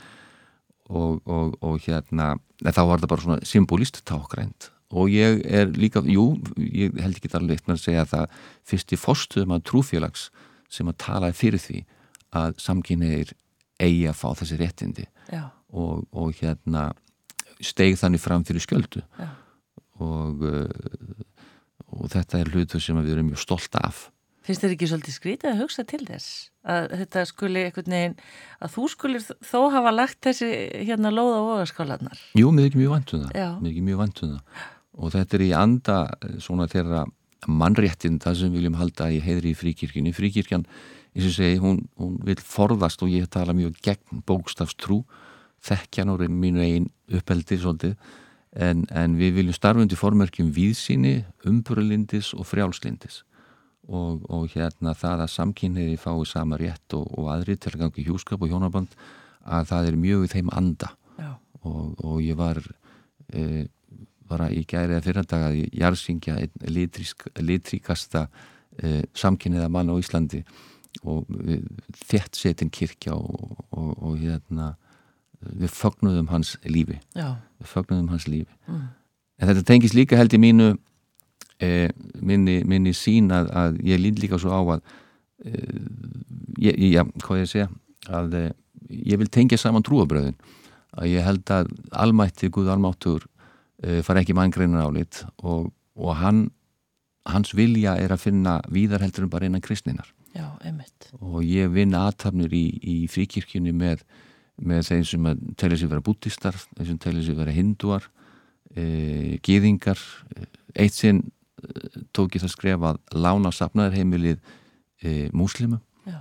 og, og, og hérna en þá var það bara svona symbolist tákrænt og ég er líka, jú, ég held ekki alveg eitt með að segja að það fyrsti fórstuðum að trúfélags sem að talaði fyrir því að samkynniðir eigi að fá þessi réttindi já, og, og hérna steig þannig fram fyrir skjöldu Já. og, uh, og þetta er hlutur sem við erum mjög stolt af finnst þér ekki svolítið skrítið að hugsa til þess? Að þetta skuli einhvern veginn, að þú skulir þó hafa lagt þessi hérna lóða og ogaskálanar. Jú, mér þykir mjög vænt um það. Já. Mér þykir mjög vænt um það. Og þetta er í anda eh, svona þeirra mannréttinda sem við viljum halda í heiðri í fríkirkjunni. Fríkirkjan, eins og ég segi, hún, hún vil forðast og ég tala mjög gegn bókstafstrú, þekkjan og mínu einn uppeldi svolítið, en, en við viljum starfundi formerkjum víðsýni, umbrulindis og frjálslindis. Og, og hérna það að samkynniði fái sama rétt og, og aðri til að gangi hjúskap og hjónaband að það er mjög í þeim anda Já, og, og ég var e, bara í gæri eða fyrrandag að ég jarðsingja einn litrísk, litríkasta e, samkynniða mann á Íslandi og e, þett setin kirkja og, og, og hérna við fögnuðum hans lífi já, við fögnuðum hans lífi Mm. en þetta tengis líka held í mínu e, minni, minni sín að, að ég lít líka svo á að e, ég, ég- já, hvað ég að segja að e, ég vil tengja saman trúabröðin að ég held að almætti Guð almáttur e, fara ekki manngreinar álit og, og hann hans vilja er að finna víðar heldur en bara innan kristninar já, einmitt. og ég vinn aðtapnir í, í fríkirkjunni með, með þeim sem að telja sér vera búttistar, þeim sem telja sér vera hindúar, e, gýðingar. Eitt sinn eh, tók ég það skref að lána safnaðarheimilið e, múslima, Já,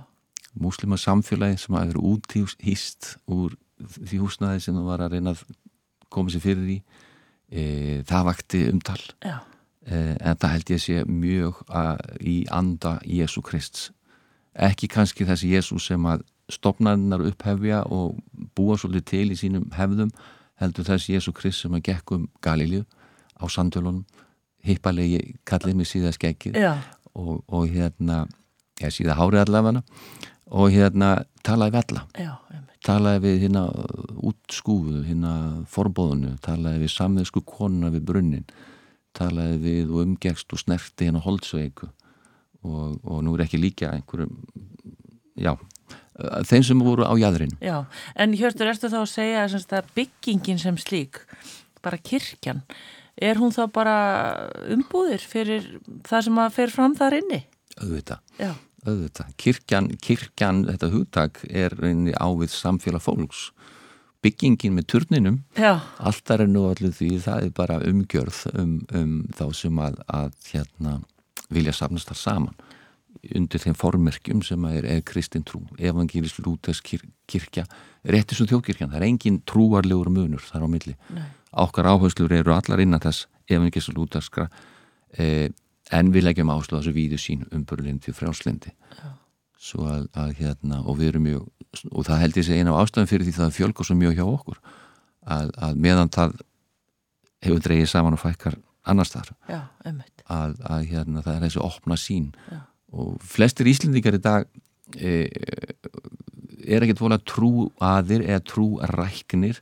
múslima samfélagi sem að vera útíhýst úr því húsnaði sem það var að reyna að koma sér fyrir í. E, það vakti umtal já, Eh, en það held ég sé mjög að, í anda Jésu Krist ekki kannski þessi Jésu sem að stopnarnar upphefja og búa svolítið til í sínum hefðum heldur þessi Jésu Krist sem að gekk um Galilju á sandölunum hippalegi kallið mig síða skeggið já, og, og hérna ja, síða hárið allafana og hérna talaði við alla já, einmitt. talaði við hérna útskúfu, hérna forbóðunu, talaði við samvegsku konuna við brunnin, talaði við og umgekst og snerti hérna holdsveiku og, og nú er ekki líka einhverjum, já, eh, þeim sem voru á jæðrinu. Já, en Hjörtur, ertu þá að segja að semst að byggingin sem slík, bara kirkjan, er hún þá bara umbúðir fyrir það sem að fer fram þar inni? Auðvitað, Já, auðvitað. Kirkjan, kirkjan, þetta hugtak er reyni ávið samfélag fólks. Byggingin með turninum já, Alltaf er nú allir því það er bara umgjörð um, um þá sem að, að hérna, vilja safnast þar saman undir þeim formerkjum sem að er, er kristin trú, evangelist lútas kir, kirkja, rétti svo þjókirkjan það er engin trúarlegur munur þar á milli Nei. okkar áherslur eru allar innan þess evangelist lútaskra eh, en við leggjum áherslu á þessu víðu sín um umbörlindi og frjálslindi svo að, að hérna og við erum mjög og það held ég segi eina af ástæðum fyrir því það fjölgur svo mjög hjá okkur að, að meðan það hefur dreigið saman og fækkar annars þar já, einmitt að, að hérna, það er þessi opna sín Já. og flestir Íslendingar í dag e, er ekkert vola trú aðir eða trú ræknir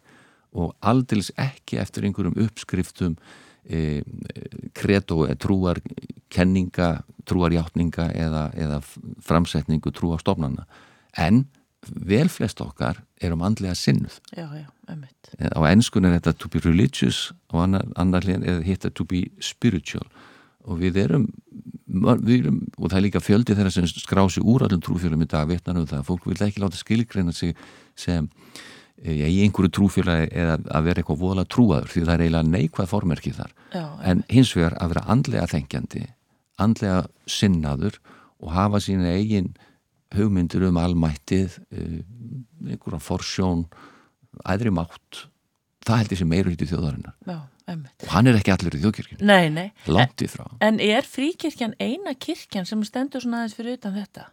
og aldils ekki eftir einhverjum uppskriftum e, kredo eða trúar kenninga, trúarjátninga eða, eða framsetningu trúarstofnana en vel flest okkar erum andlega sinnuð já, já, einmitt á ennskun er þetta to be religious og annar, annar hlýðan er hitta to be spiritual og við erum, við erum og það er líka fjöldi þeirra sem skrá sig úr allum trúfjölum í dag, vitnar um það fólk vil ekki láta skilgreina sig sem eh, já, í einhverju trúfjöla eða að vera eitthvað vola trúaður því það er eiginlega neikvæð formerki þar já, en hins vegar að vera andlega þengjandi andlega sinnaður og hafa sína eigin hugmyndir um almættið eh, einhverja forsjón æðri mátt það held ég sem meira hluti þjóðarinnar já, einmitt og hann er ekki allur í þjóðkirkjunni, nei, nei, langt í frá en er fríkirkjan eina kirkjan sem stendur svona aðeins fyrir utan þetta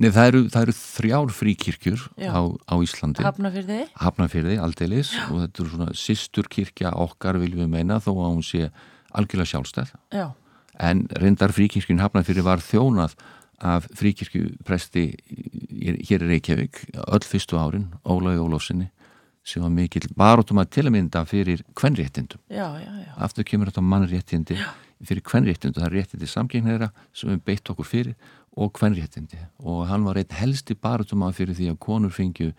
Nei, það eru, það eru þrjár fríkirkjur Já. á, á Íslandi hafna fyrir þið? Hafnafyrði, aldeilis og þetta eru svona sýsturkirkja okkar viljum við meina þó að hún sé algjörlega sjálfstæð já, en reyndar fríkirkjun Hafnarfyrir var þjónað af fríkirkjupresti í- hér í Reykjavík öll fyrstu árin, Ólaug Ólofsinni sem var mikill baróttum að tilamynda fyrir kvenréttindum. já, já, já, Aftur kemur þetta á mannréttindi fyrir kvenréttindi, það er réttindi samkynhneira sem við beitt okkur fyrir og kvenréttindi og hann var einn helsti baróttum að fyrir því að konur fengju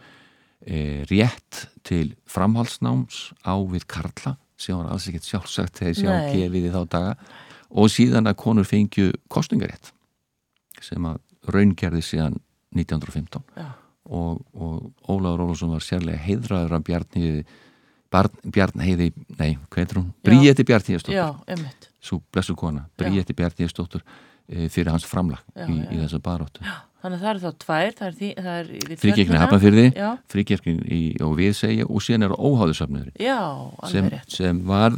e, rétt til framhaldsnáms á við Karla sem var alls ekkert sjálfsagt þegar sem Nei. hann gefið í þá daga og síðan að konur fengju kostningarétt sem að raungerði síðan 1915 já, og, og Ólaður Ólafsson var sérlega heiðraður af Bjarni Barn, Bjarn heiði, nei, hvað heitir hún? Já. Bríeti Bjarn Heiðstóttur, já einmitt svo blessu kona Bríeti Bjarn Heiðstóttur fyrir hans framlag Já, í, já. í þessa baróttu þannig að það eru þá tvær, það er, því, það er í- við Fríkirkni Tjörnina. hafnafyrði, já, fríkirkni og við segja og síðan eru óháðusöfniður já, sem, alveg rétt sem var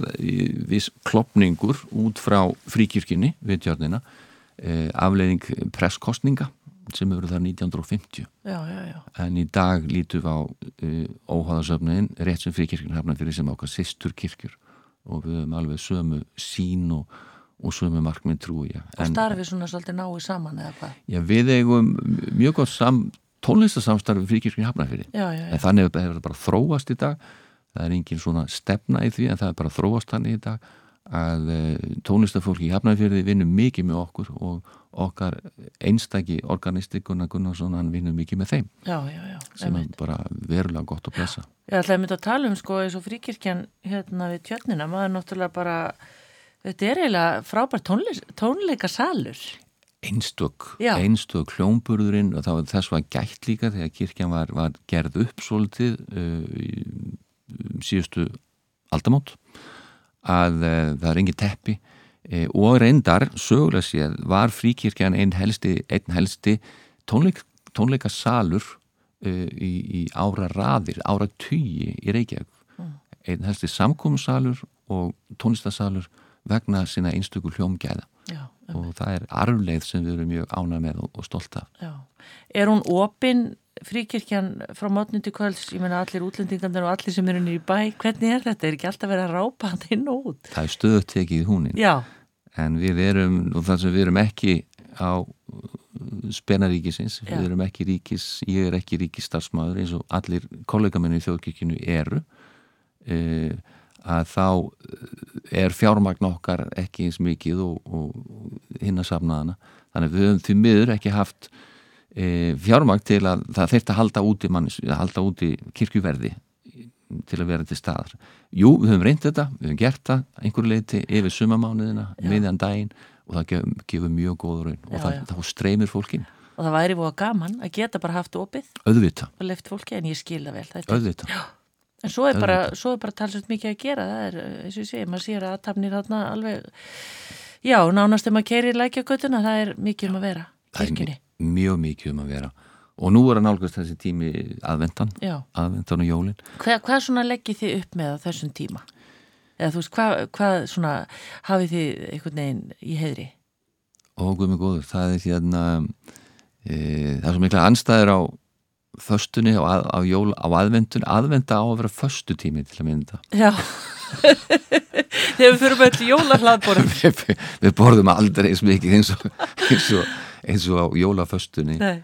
viss klopningur út frá fríkirkjunni við tjörnina eh, afleiðing presskostninga sem eru þar 1950 já, já, já, en í dag lítum við á uh, óháðasöfniðin rétt sem fríkirkjun hafna fyrir sem okkar sýstur kirkjur og við höfum alveg sömu sín og, og sömu markmið trúi ég. og En- starfi svona svolítið náið saman eða hvað Já, við eigum mjög gott sam, tónlistasamstarfi fríkirkjun hafna fyrir já, já, já, en þannig hefur hefur það bara þróast í dag það er engin svona stefna í því en það er bara þróast þannig í dag að eh, tónlistafólki í Hafnarfjörði vinnum mikið með okkur og okkar einstaki organistikuna Gunnarsson hann vinnur mikið með þeim já, já, já, sem einmitt. er bara verulega gott að blessa Ég ætlaði að mynda að tala um sko eins og fríkirkjan hérna við tjörnina, maður náttúrulega bara þetta er eiginlega frábært tónleik, tónleikasalur einstök, Já. einstök hljómburðurinn og það var þess var gætt líka þegar kirkjan var, var gerð upp svolítið uh, í- um síðustu aldamót að uh, það er engin teppi uh, og reyndar, sögulega séð var fríkirkjan einn helsti, einn helsti tónleik, tónleikasalur uh, í, í ára raðir, ára tugi í Reykjavík einn helsti samkómsalur og tónlistasalur vegna sína einstöku hljómgæða já, og það er arfleið sem við erum mjög ánað með og, og stolt af. já. Er hún opin fríkirkjan frá mótni til kvölds, ég meina allir útlendingarnir og allir sem eru nýri bæ, hvernig er þetta? Er ekki alltaf verið að rápa hann inn og út? Það er stöðugt tekið í húnin, Já, en við erum, og það sem við erum ekki á spenaríkisins, Já. við erum ekki ríkis, ég er ekki ríkisstarfsmaður eins og allir kollegamennu í þjóðkirkjunu eru, e, að þá eh, er fjármagn okkar ekki eins mikið og, og hinn að safna hana. Þannig að við höfum því miður ekki haft e, fjármagn til að það þurft að halda úti mannis, að halda úti kirkjuverði til að vera til staðar. Jú, við höfum reynd þetta, við höfum gert það að einhverju leiti yfir sumamánuðina, miðjan daginn og það gef, gefur mjög góð raun og Já, það, já. þá streymir fólkin og það væri voða gaman að geta bara haft opið auðvita, og leift fólki, en ég skil það vel. Þetta er auðvita. En svo er bara, svo er bara talsvægt mikið að gera, það er, eh, eins og ég segi, maður sér að aðtapnir þarna alveg, já, nánast þegar maður keirir lækjagötuna, það er mikið um að vera. kirkjunni. Það er mi- mjög mikið um að vera. Og nú er að nálgast þessi tími aðvendan, Já. aðvendan og jólin. Hva, hvað svona leggir þið upp með á þessum tíma? Eða þú veist, hvað, hvað svona hafið þið einhvern veginn í heiðri? Ó, guð mig góður, það er hérna, e, það er svo mikla anstæður á föstunni og að, á, jól, á aðvendun, aðvenda á að vera föstu tími til að mynda. Já. Þegar við fyrir með öll jólahlaðborðum. við, við borðum aldrei eins mikið eins og, eins og, eins og á jólaföstunni. Nei,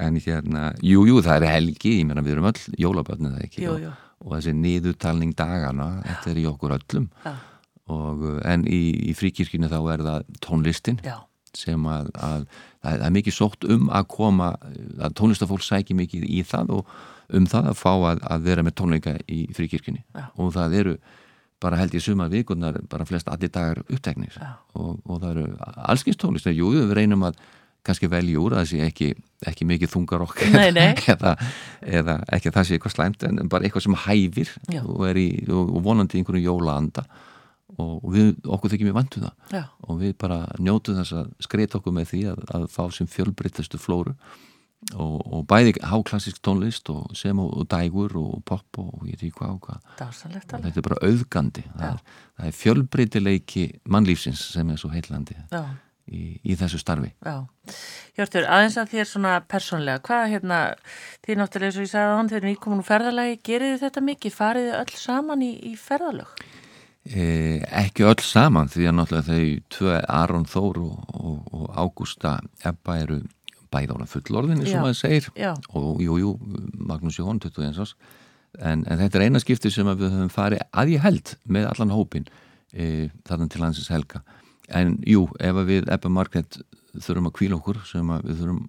En hérna, jú, jú, það er helgi, ég meina við erum öll jólabötnið það ekki Jú, og- jú. og þessi niðurtalning dagana, þetta er í okkur öllum já, og, uh, en í, í fríkirkjunni þá er það tónlistin já, sem að, að það, það er mikið sótt um að koma, uh, að tónlistafólk sæki mikið í það og um það að fá að, að vera með tónleika í fríkirkjunni Já. og það eru bara held ég sumar vikunar, bara flest allir dagar uppteknir Já. og, og það eru allskins tónlist, jú, við reynum að kannski velja úr að það sé ekki, ekki mikið þungar okkur Nei, nei. eða, eða ekki að það sé eitthvað slæmt en bara eitthvað sem hæfir Já. og, er í, og og vonandi í einhverju jólaanda og við, okkur þykir mjög vantu það já. og við bara njótu þess að skreita okkur með því að, að fá sem fjölbreyttastu flóru og, og bæði háklassisk tónlist og sem og, og dægur og pop og ég veit ekki hvað og hvað Dásanlegt alveg. þetta er bara auðgandi það er, það er fjölbreytileiki mannlífsins sem er svo heillandi Já, í, í þessu starfi já. Hjörtur, aðeins að þér svona persónlega, hvað hérna, þið náttúrulega eins og ég sagði á hann, þið eru nýkomin úr ferðalagi, gerir þið þetta mikið, farið þið öll saman í, í ferðalög? e, ekki öll saman því að náttúrulega þau tvö Aron Þór og, og, og Ágústa Ebba eru bæði ára fullorðin eins Já. og maður segir Já. og jú, jú, Magnús Jón 21 árs en, en þetta er eina skipti sem að við höfum farið að ég held með allan hópin e, þarna til landsins helga en jú, ef að við Ebba Margrét þurfum að kvíla okkur sem að við þurfum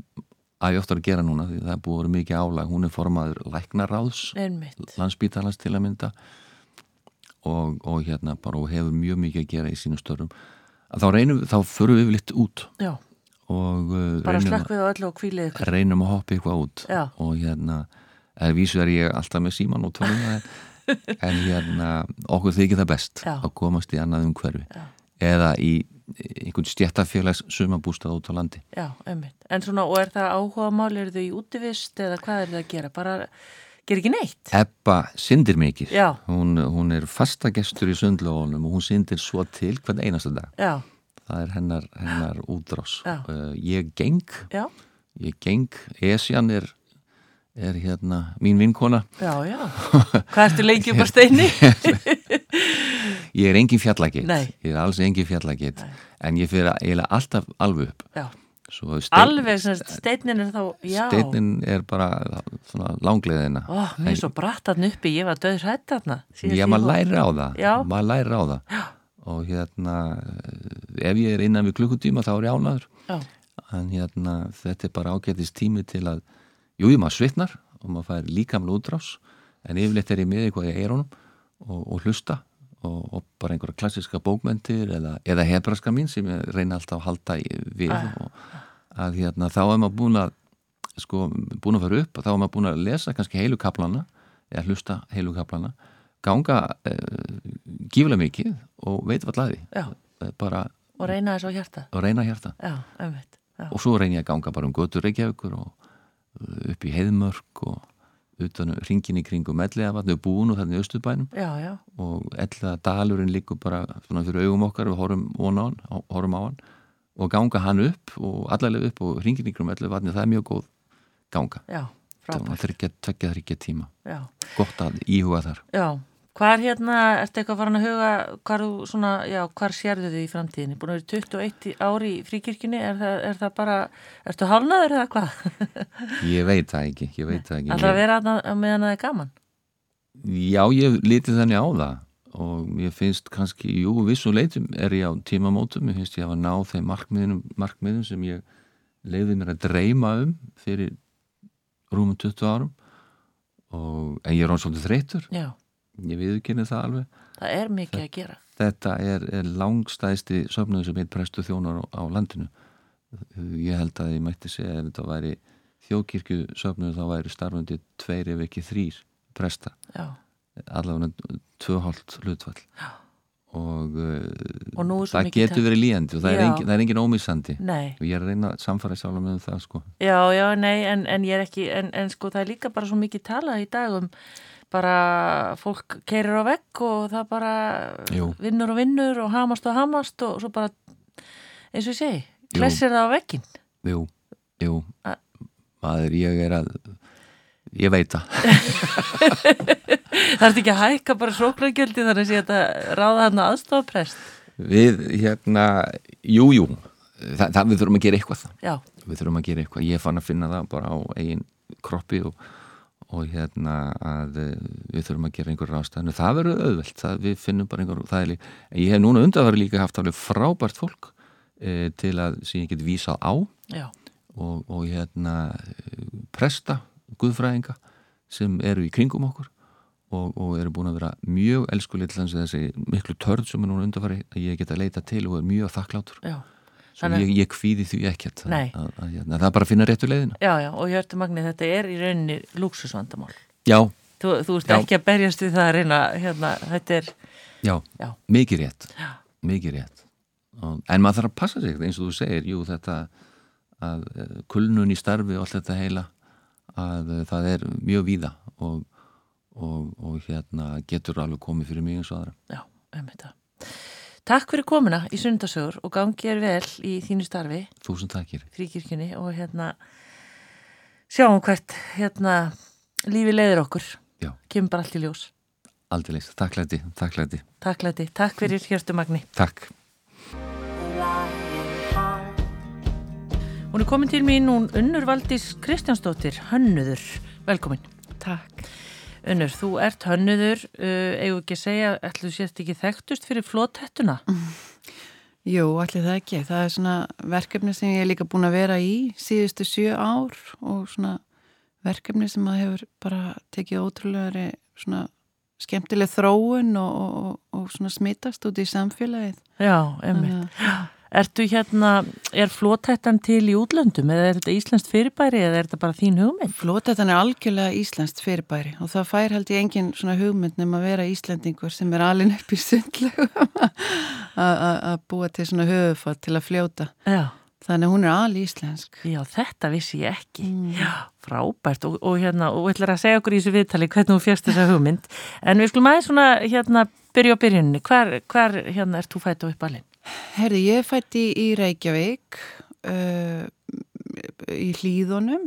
að ég oftar að gera núna því það er búið að vera mikið álag, hún er formaður læknaráðs Einmitt. landsbítalans til að mynda og, og hérna bara og hefur mjög mikið að gera í sínum störum að þá reynum, við- þá förum við litt út Já, og uh, bara reynum, slökk við á öllu og kvílið ykkur. að, reynum að hoppa eitthvað út Já. og hérna, eða vísu er ég alltaf með síman og tölum en hérna, okkur þykir það best Já. að komast í annað umhverfi Já. eða í einhvern stjættafélags sumabústað út á landi Já, einmitt. En svona, og er það áhuga mál, eru þau í útivist eða hvað er það að gera? Bara, gera ekki neitt? Ebba syndir mikið Já. hún, hún er fasta gestur í sundlóðunum og hún syndir svo til hvern einasta dag Já, það er hennar, hennar útrás Já. uh, ég geng já, ég geng, Esjan er er hérna mín vinkona já, já. Hvað ertu lengi upp á steini? ég er engin fjallageit, Nei. ég er alls engin fjallageit en ég fyrir eiginlega alltaf alveg upp Já, Svo steinn- alveg sem sagt, steinin er þá, já. steinninn er bara svona langleðina Ó, mér er svo bratt hann uppi, ég var döður hrætt hann. Já, maður læri á það, Já. maður læri á það og hérna eh, ef ég er innan við klukkutíma þá er ég ánaður Já, en hérna þetta er bara ágætist tími til að jú, jú, maður svitnar og maður fær líkamlega útrás en yfirleitt er ég með eitthvað í eirunum og, og hlusta og, og bara einhverja klassiska bókmentir eða, eða hebraska mín sem ég reyna alltaf að halda í, við og að hérna þá er maður búin að sko, búin að fara upp og þá er maður búin að lesa kannski heilu kaplana eða hlusta heilu kaplana ganga e, gífulega mikið og veit hvað laði já, Eh, bara og reyna þess á hjarta. að reyna hjarta Já, einmitt. Já, og svo reyni ég að ganga bara um götur Reykjavíkur og uh, upp í Heiðmörk og utan ringin í kringum Elliðavatn, við búin og þannig Östurbænum já, já, og Elliðadalurinn líkur bara svona fyrir augum okkar, við horfum, von á hann, á- horfum á hann og ganga hann upp og allarlega upp og ringin í kringum Elliðavatn það er mjög góð ganga já, það frábært. var þryggja, tveggja, þryggja tíma Já. gott að íhuga þar Já, hvað er hérna, ertu eitthvað farin að huga, hvað er þú svona, já, hvað sérðu þið í framtíðinni? Búin að vera 21 ári í fríkirkjunni, er það, er það bara, ertu hálnaður eða hvað? ég veit það ekki, ég veit það ekki Alltaf að Ég- vera að meðan það er gaman? Já, ég lítið þannig á það og mér finnst kannski, jú, vissum leitum er ég á tímamótum, mér finnst ég hafa náð þeim markmiðum, markmiðum sem ég leiði mér að dreyma um fyrir rúmum 20 árum og, en ég er án svolítið þreytur, Já, ég viðurkenni það alveg. það er mikið að gera. Þetta er, er langstæðsti söfnuðu sem heit prestu þjónar á, á landinu. Ég held að ég mætti segja ef þetta væri þjókirkju söfnuðu þá væri starfandi tveir ef ekki þrýr presta Já, allavega tvöhald hlutfall og, uh, Og nú er svo það mikið getur tækni. verið líðandi og það er, Já. engin, það er engin ómissandi Nei, og ég er að reyna að samfara sjálf með um það sko. já, já, nei, en, en ég er ekki, en, en sko það er líka bara svo mikið talað í dag um bara fólk keirir á vekk og það bara Jú. vinnur og vinnur og hamast og hamast og svo bara, eins og ég segi, Jú. klessir það á vekkin. Jú, jú A- maður ég er að ég veit það, Það er ekki að hækka bara sóknargjöldi þannig að ég ætla að ráða hann aðstofaprest. við hérna jú, jú, það, það við þurfum að gera eitthvað Já, við þurfum að gera eitthvað, ég fann að finna það bara á eigin kroppi og, og hérna að eh, við þurfum að gera einhver rástæðinu, það verður auðvelt það, við finnum bara einhver, það er líka ég hef núna undanfæri líka haft alveg frábært fólk e, til að, sem ég get vísað á já, og, og hérna eh, presta, guðfræðinga sem eru í kringum okkur og, og eru búin að vera mjög elskuleitt þannig að þessi miklu törn sem er núna undarfari að ég get að leita til og er mjög þakklátur já. svo Þannig- ég, ég kvíði því ekkert Nei. að, að, að, hérna, það er bara að finna réttu leiðina Já, já, og Hjörtur Magni, þetta er í rauninni lúksusvandamál. já, Þú, þú ert Já. ekki að berjast við það að reyna, hérna, þetta er, já, já, mikið rétt já, mikið rétt og, en maður þarf að passa sig eins og þú segir jú þetta að eh, kulnun í starfi og allt þetta heila að eh, það er mjög víða og, og, og hérna getur alveg komið fyrir mig eins og aðra já, um þetta. Takk fyrir komuna í sunndasögur og gangi er vel í þínu starfi, þúsund takkir fríkirkjunni, og hérna, sjáum hvert, hérna, lífi leiðir okkur. Já. Kemur bara allt í ljós. aldrei leist, takklæti, takklæti, Takk, Læti, takk fyrir Hjörtur Magni. takk Hún er komin til mín, hún Unnur Valdís Kristjánsdóttir, hönnuður. Velkomin. Takk. Unnur, þú ert hönnuður, uh, eigum við ekki að segja, ætlu þú sért ekki þekktust fyrir flótettuna? Mm. Jú, allir það ekki. Það er svona verkefni sem ég er líka búin að vera í síðustu sjö ár og svona verkefni sem að hefur bara tekið ótrúlegari svona skemmtileg þróun og, og, og, og svona smittast út í samfélagið. Já, emmi. Þannig að- Ertu hérna, er flótettan til í útlöndum eða er þetta íslenskt fyrirbæri eða er þetta bara þín hugmynd? Flótetan er algjörlega íslenskt fyrirbæri og það fær held ég engin svona hugmynd nema að vera íslendingur sem er alin upp í sundlegum að búa til svona höfufat til að fljóta. Já. Þannig að hún er al íslensk. Já, þetta vissi ég ekki. Já, frábært og, og hérna, og ætlar að segja okkur í þessu viðtali hvernig þú fjast þessa hugmynd. En við skulum aðeins svona, hérna, byrja á byrjuninni. Hvar, hvar hérna, ert þú fætt og uppalinn? Herði, ég er fætt í, í Reykjavík, uh, í hlýðunum,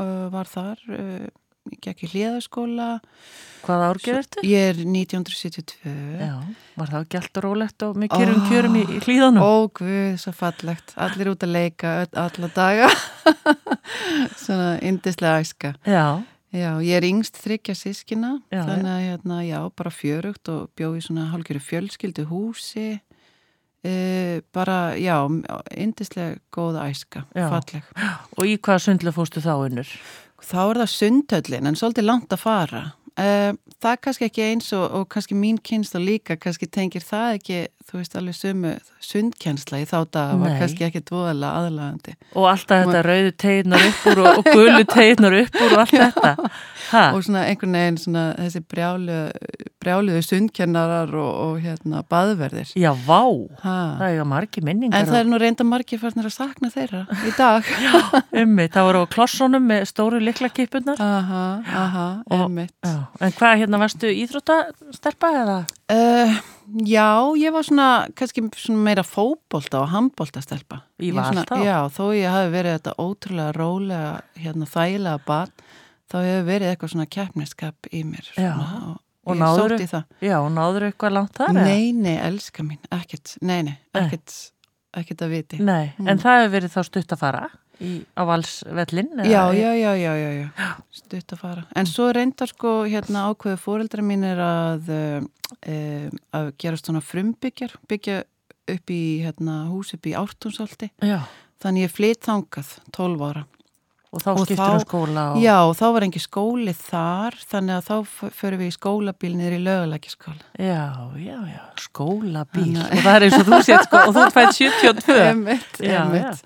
uh, var þar, uh, ég gekk í hlýðaskóla. Hvaða árgjör ertu? Ég er 1972. Já, Ah. var það ekki alltaf rólegt og með kjörum kjörum í, í hlýðanum? Ó, guð, svo fallegt. Allir út að leika öll, alla daga. Svona indislega æska. Já, Já, ég er yngst þryggja sískina, Já, þannig að hérna, já, bara fjörugt og bjó í svona hálgjöru fjölskyldu húsi, e, bara, já, yndislega góð æska, Já. falleg. og í hvaða sundlu fóstu þá unnur? Þá er það sundhöllin, en svolítið langt að fara. E, það er kannski ekki eins og, og kannski mín kynst og líka, kannski tengir það ekki, þú veist, alveg sömu sundkjensla í þá daga, Nei. var kannski ekki dvoðalega aðlagandi. Og alltaf þetta rauðu tegnar upp úr og, og gullu tegnar upp úr og allt þetta. Ha, og svona einhvern veginn svona þessi brjálu, brjáluðu sundkennarar og, og hérna baðverðir já, vá, það ha. er margi minningar. en það er nú reynda margir farnir að sakna þeirra í dag Ummi, það voru á klossónum með stóru liklakippunar. aha, aha, Og- emmitt Já, en hvað hérna varstu íþróttastelpa eða? uh, já, ég var svona kannski svona meira fótbolta og handbolta stelpa Í var svona, þá? já, þó ég hafi verið þetta ótrúlega rólega hérna þægilega barn þá hefur verið eitthvað svona keppniskap í mér Já. svona, Og ég náðurðu- sótti í það Já, náður eitthvað langt þar? eða? Nei, nei, elska mín, ekkert, nei, nei, Nei. ekkert, ekkert að viti. Nei, en Mm. það hefur verið þá stutt að fara í, á valsvellin? Já, já, já, já, já, já, stutt að fara. En svo reyndar sko hérna ákveðu fóreldra mínir að, uh, að gera svona frumbyggjar, byggja upp í hérna, hús upp í ártúnsaldi. Já, Þannig ég flytt þangað, 12 ára. og þá Og skiptur um þá- skóla og... Já, þá var engi skóli þar, þannig að þá f- förum við í skólabíl niður í lögulækiskóla. Já, já, já, skólabíl Þannig og það er eins og þú sétt sko og þú fætt 72 Emmett, Já, emmett.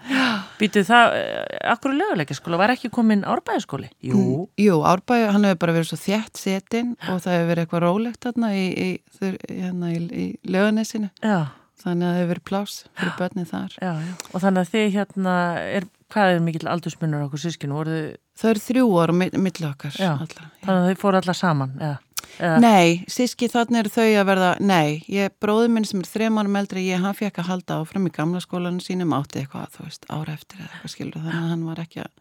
Býtu það, eh, akkur löguleika skóla var ekki komin árbæðaskóli? Jú, Jú, Árbæði, hann hefur bara verið svo þjætt setin og það hefur verið eitthvað rólegt þarna í, í, þur, hérna, í, í lögunesinu. já, Þannig að það hefur verið plás fyrir börnið þar. já, já. Og þannig að þið hérna, er, hvað er mikill aldursmunur á okkur sískinu? Voru þið, Það eru þrjú ára milli okkar Já. allra. Já. þannig að þið fóru alla saman, eða? eða Nei, síski þannig eru þau að verða, nei, ég, bróður minn sem er þrem árum eldri, ég, hann fekk að halda áfram í gamla skólanum sínum átti eitthvað, þú veist, ára eftir eða eitthvað skilur, þannig að hann var ekki að,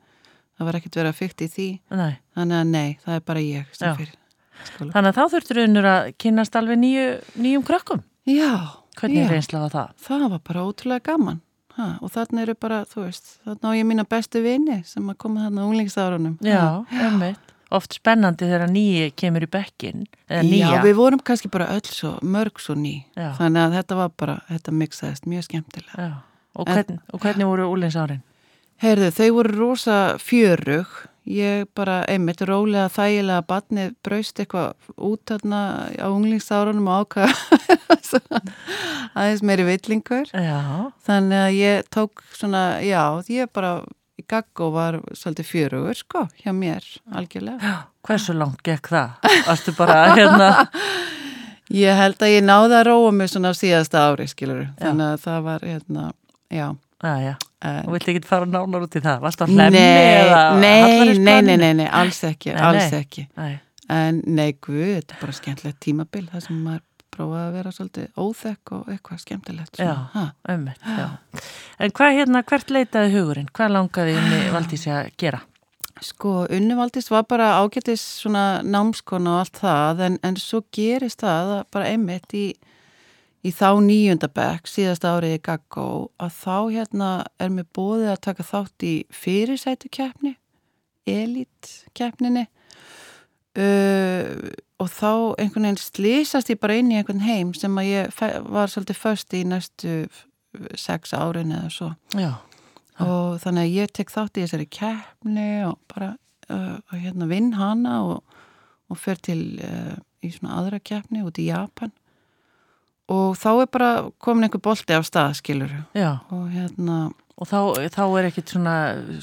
það var ekkert verið að fykta í því, Nei. þannig að nei, það er bara ég sem Já. fyrir skóla. Þannig að þá þurftur unnur að kynnast alveg nýju, nýjum krökkum. Já, Hvernig já, er reynsla á það? það var bara ótrúlega gaman, ha, og þannig eru bara, þú veist, þannig á ég mína bestu vini sem að koma þarna á unglingsárunum. Já, einmitt. Oft spennandi þegar nýji kemur í bekkin, eða nýja. Já, við vorum kannski bara öll svo, mörg svo ný, Já. þannig að þetta var bara, þetta mixaðist mjög skemmtilega. Já. Og, En- hvern, og hvernig voru úlinsárin? Heyrðu, þau voru rosa fjörug. Ég bara, einmitt, rólega þægilega að batnið braust eitthvað út þarna á unglingsárunum og ákvað svona aðeins meiri villingur. Já, Þannig að ég tók svona, já, ég bara í gagg og var svolítið fjörugur, sko, hjá mér, algjörlega. hversu langt gekk það? Varstu bara hérna, Ég held að ég náði að róa mig svona á síðasta ári, skilur. Þannig að það var, hérna, já. já, já, En- og vilti ekki fara nánar út í það? Varstu að hlemmi Nei, eða? nei, hallarist nei, nei, barninu? nei, nei, alls ekki, Nei, alls nei. ekki. Nei. En nei, guð, þetta er bara skemmtilegt tímabil, það sem maður prófaði að vera svolítið óþekk og eitthvað skemmtilegt. svona. Já, Ha. ömmit, já. En hvað hérna, hvert leitaði hugurinn? Hvað langaði henni Valdísi að gera? Sko, unnivaldist var bara ágætis svona námskona og allt það, en, en svo gerist það að bara einmitt í, í þá nýjöndabekk, síðasta árið í Gaggó, að þá hérna er mér bóðið að taka þátt í fyrirsætukeppni, elitkeppninni, uh, og þá einhvern veginn slýsast ég bara inn í einhvern heim sem að ég fe- var svolítið först í næstu f- sex árin eða svo Já, og þannig að ég tek þátt í þessari keppni og bara uh, og hérna vinn hana og, og fer til uh, í svona aðra keppni út í Japan og þá er bara komin einhver bolti af stað skilur já. og hérna Og þá, þá er ekkit svona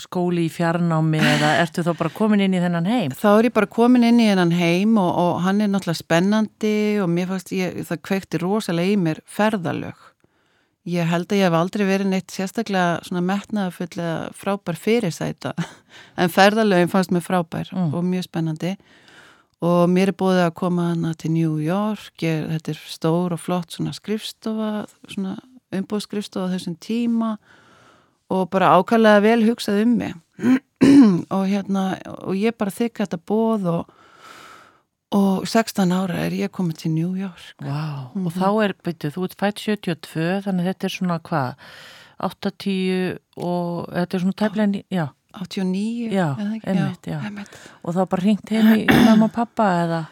skóli í fjarnámi eða ertu þá bara komin inn í þennan heim? þá er ég bara komin inn í hennan heim og, og hann er náttúrulega spennandi og mér fannst ég, það kveikti rosalega í mér ferðalög. Ég held að ég hef aldrei verið neitt sérstaklega svona metnaðafullega frábær fyrirsæta en ferðalögin fannst mér frábær Mm. og mjög spennandi og mér er búið að koma hana til New York, ég, þetta er stór og flott svona skrifstofa, svona umbúðskrifstofa á þessum tíma og bara ákvæmlega vel hugsað um mig og hérna og ég bara þykka þetta bóð og, og 16 ára er ég komið til New York Vá, og þá er, veitu, þú ert fætt 72, þannig að þetta er svona hvað, 80 og þetta er svona tæflegin, já, 89 Já, eða ekki? einmitt, já. einmitt. og þá bara hringt heim í mamma og pappa eða,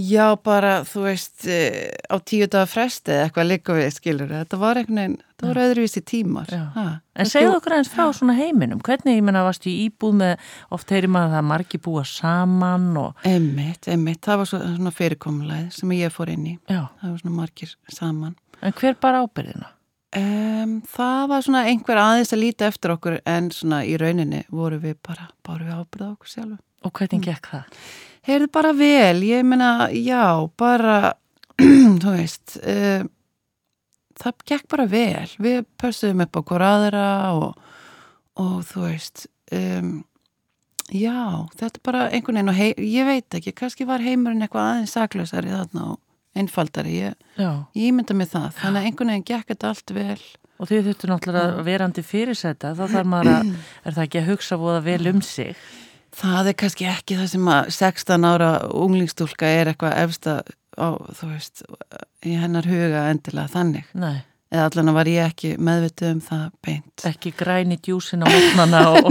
Já, bara, þú veist, eh, á tíu dagar fresti eða eitthvað líka við, skilur þetta var einhvern veginn, það voru öðruvísi tímar Já. ha, en segðu okkur aðeins frá svona heiminum, hvernig, ég menna, varstu í íbúð með, oft heyri maður að það að margi búa saman og, Einmitt, einmitt, það var svo, svona fyrirkomulæð sem ég fór inn í, já, það var svona margir saman en hver bara ábyrðina? Um, það var svona einhver aðeins að líta eftir okkur en svona í rauninni voru við bara, bara við ábyrða okkur sjálfu Og hvernig gekk það? Heyrðu bara vel, ég meina, já, bara, þú veist, uh, það gekk bara vel. Við pössuðum upp okkur aðra og, og þú veist, um, já, þetta er bara einhvern veginn og hei, ég veit ekki, kannski var heimurinn eitthvað aðeins saklausari þarna og einfaldari, ég, Já, ég ímynda mig það. Þannig að einhvern veginn gekk þetta allt vel. og þið þurftu náttúrulega að verandi fyrirsæta, þá þarf maður að, er það ekki að hugsa voða vel um sig? Það er kannski ekki það sem að 16 ára unglingstúlka er eitthvað efsta á, þú veist, í hennar huga endilega þannig. Nei, Eða allan var ég ekki meðvituð um það beint. ekki græni djúsin á mótnana og,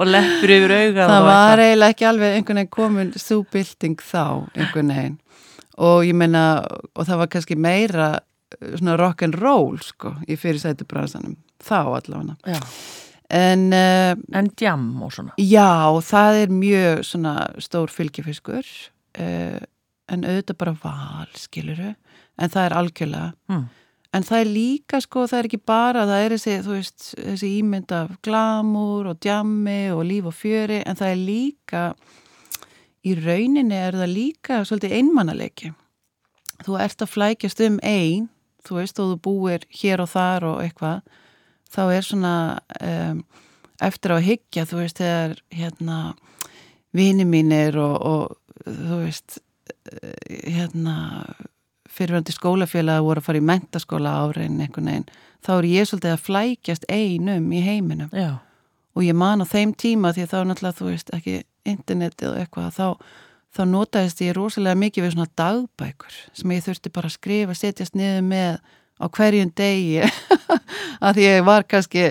og leppur yfir augað Það og var eitthvað. eiginlega ekki alveg einhvern veginn komin svo bylting þá, einhvern veginn. Og ég meina, og það var kannski meira eh, svona rock'n'roll, sko, í fyrirsætu bransanum. Þá allavega. Já. En uh, En djam og svona. Já, það er mjög svona stór fylgifiskur eh, uh, en auðvitað bara val, skiluru en það er algjörlega Mm. En það er líka sko, það er ekki bara, það er þessi, þú veist, þessi ímynd af glamúr og djammi og líf og fjöri, en það er líka, í rauninni er það líka svolítið einmannalegi. Þú ert að flækjast um einn, þú veist, og þú búir hér og þar og eitthvað, þá er svona um, eftir á að hyggja, þú veist, þegar hérna vini mínir og, og þú veist, eh, hérna fyrirvændi skólafélaga voru að fara í mentaskóla áriðin einhvern veginn, þá er ég svolítið að flækjast einum í heiminum já, og ég man á þeim tíma því að þá náttúrulega, þú veist, ekki internetið og eitthvað, þá, þá notaðist ég rosalega mikið við svona dagbækur sem ég þurfti bara að skrifa, setjast niður með á hverjum degi að því ég var kannski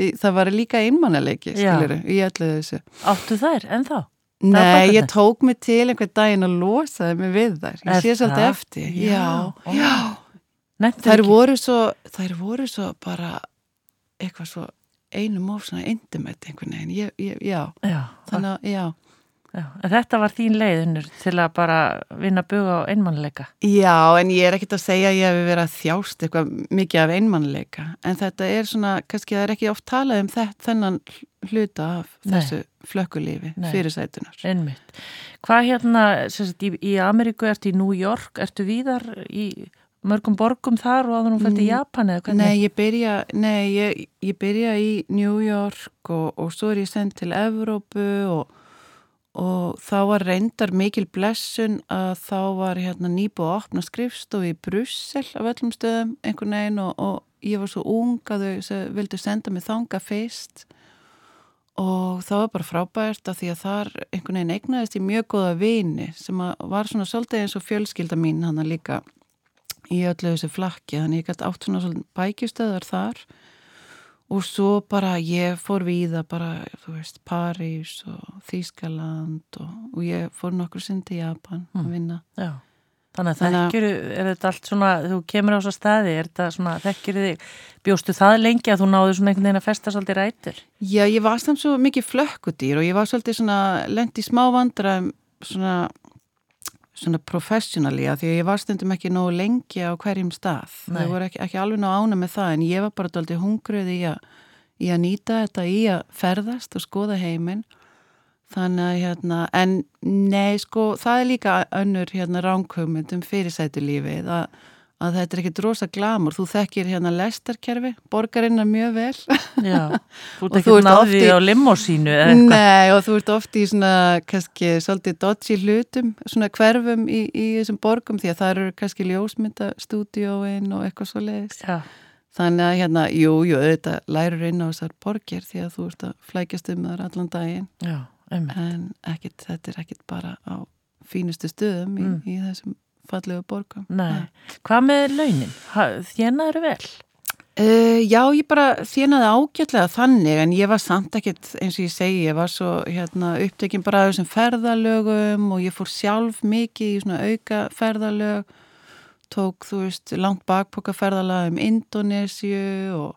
í- það var líka einmannalegi, Já. skilur í öllu þessu. áttu þær, en þá? Nei, Dagbækurnar? ég tók mig til einhvern daginn og losaði mig við þær. Ég sé Er svolítið það? eftir. Já, ó. já. Nefndu Þær ekki. voru svo, þær voru svo bara eitthvað svo einum of svona intimate einhvern veginn. Ég, ég, já, Já, þannig... þannig að, já. já, en þetta var þín leið unnur til að bara vinna buga á einmannleika. Já, en ég er ekkert að segja að ég hefði verið að þjást eitthvað mikið af einmannleika. En þetta er svona, kannski það er ekki oft talað um þetta, þennan hluta af Nei. þessu flökkulífi, Nei. fyrirsætunar. Einmitt. Hvað hérna, sem sagt, í, í Ameríku ertu í New York, ertu víðar í mörgum borgum þar og áður hún fætti í Japan eða Nei, hvernig? ég byrja, nei, ég, ég byrja í New York og, og svo er ég sendt til Evrópu og, og þá var reyndar mikil blessun að þá var hérna nýbúið að opna skrifstofi í Brussel af öllum stöðum einhvern veginn og, og ég var svo ung að þau se- vildu senda mig þanga fyrst og það var bara frábært að því að þar einhvern veginn eignaðist ég mjög góða vini sem að var svona svolítið eins og fjölskylda mín hann líka í öllu þessu flakki þannig ég gætt átt svona svolítið bækjustöðar þar og svo bara ég fór víða bara, þú veist, París og Þýskaland og, og ég fór nokkur sinn til Japan að vinna Já. Þannig að Þannig að- þekkjuru, er þetta allt svona, þú kemur á þessa staði, er þetta svona, þekkjuru þig, bjóstu það lengi að þú náðu svona einhvern veginn að festa svolítið rætur? Já, ég var samt svo mikið flökkudýr og ég var svolítið svona lent í smá vandræðum svona svona professionally að því að ég var stundum ekki nógu lengi á hverjum stað. Nei. Þau voru ekki, ekki alveg nógu ána með það en ég var bara daldið hungruð í að, í að nýta þetta í að ferðast og skoða heiminn. Þannig að hérna, en nei sko, það er líka önnur hérna ránkumund um fyrirsætulífið að, að þetta er ekkit rosa glamur. Þú þekkir hérna lestarkerfi, borgarinnar mjög vel. Já. Þú ert Og þú ekki ert oft náðið í- á limósínu eða eitthvað? Nei, og þú ert oft í svona, kannski, svolítið dodgy hlutum, svona hverfum í, í þessum borgum því að það eru kannski ljósmyndastúdíóin og eitthvað svo leiðis. Já. Þannig að hérna, jú, jú, þetta lærur inn á þessar borgir því að þú ert að flækjast um þar allan daginn, Já, um. en ekkit, þetta er ekkit bara á fínustu stöðum í, Mm. í þessum fallegu borgum. Nei. Hvað með launin? Þjena eru vel? Uh, já, ég bara þjónaði ágætlega þannig en ég var samt ekkert, eins og ég segi, ég var svo hérna, upptekinn bara af þessum ferðalögum og ég fór sjálf mikið í svona auka ferðalög, tók, þú veist, langt bakpoka ferðalag um Indonésiu og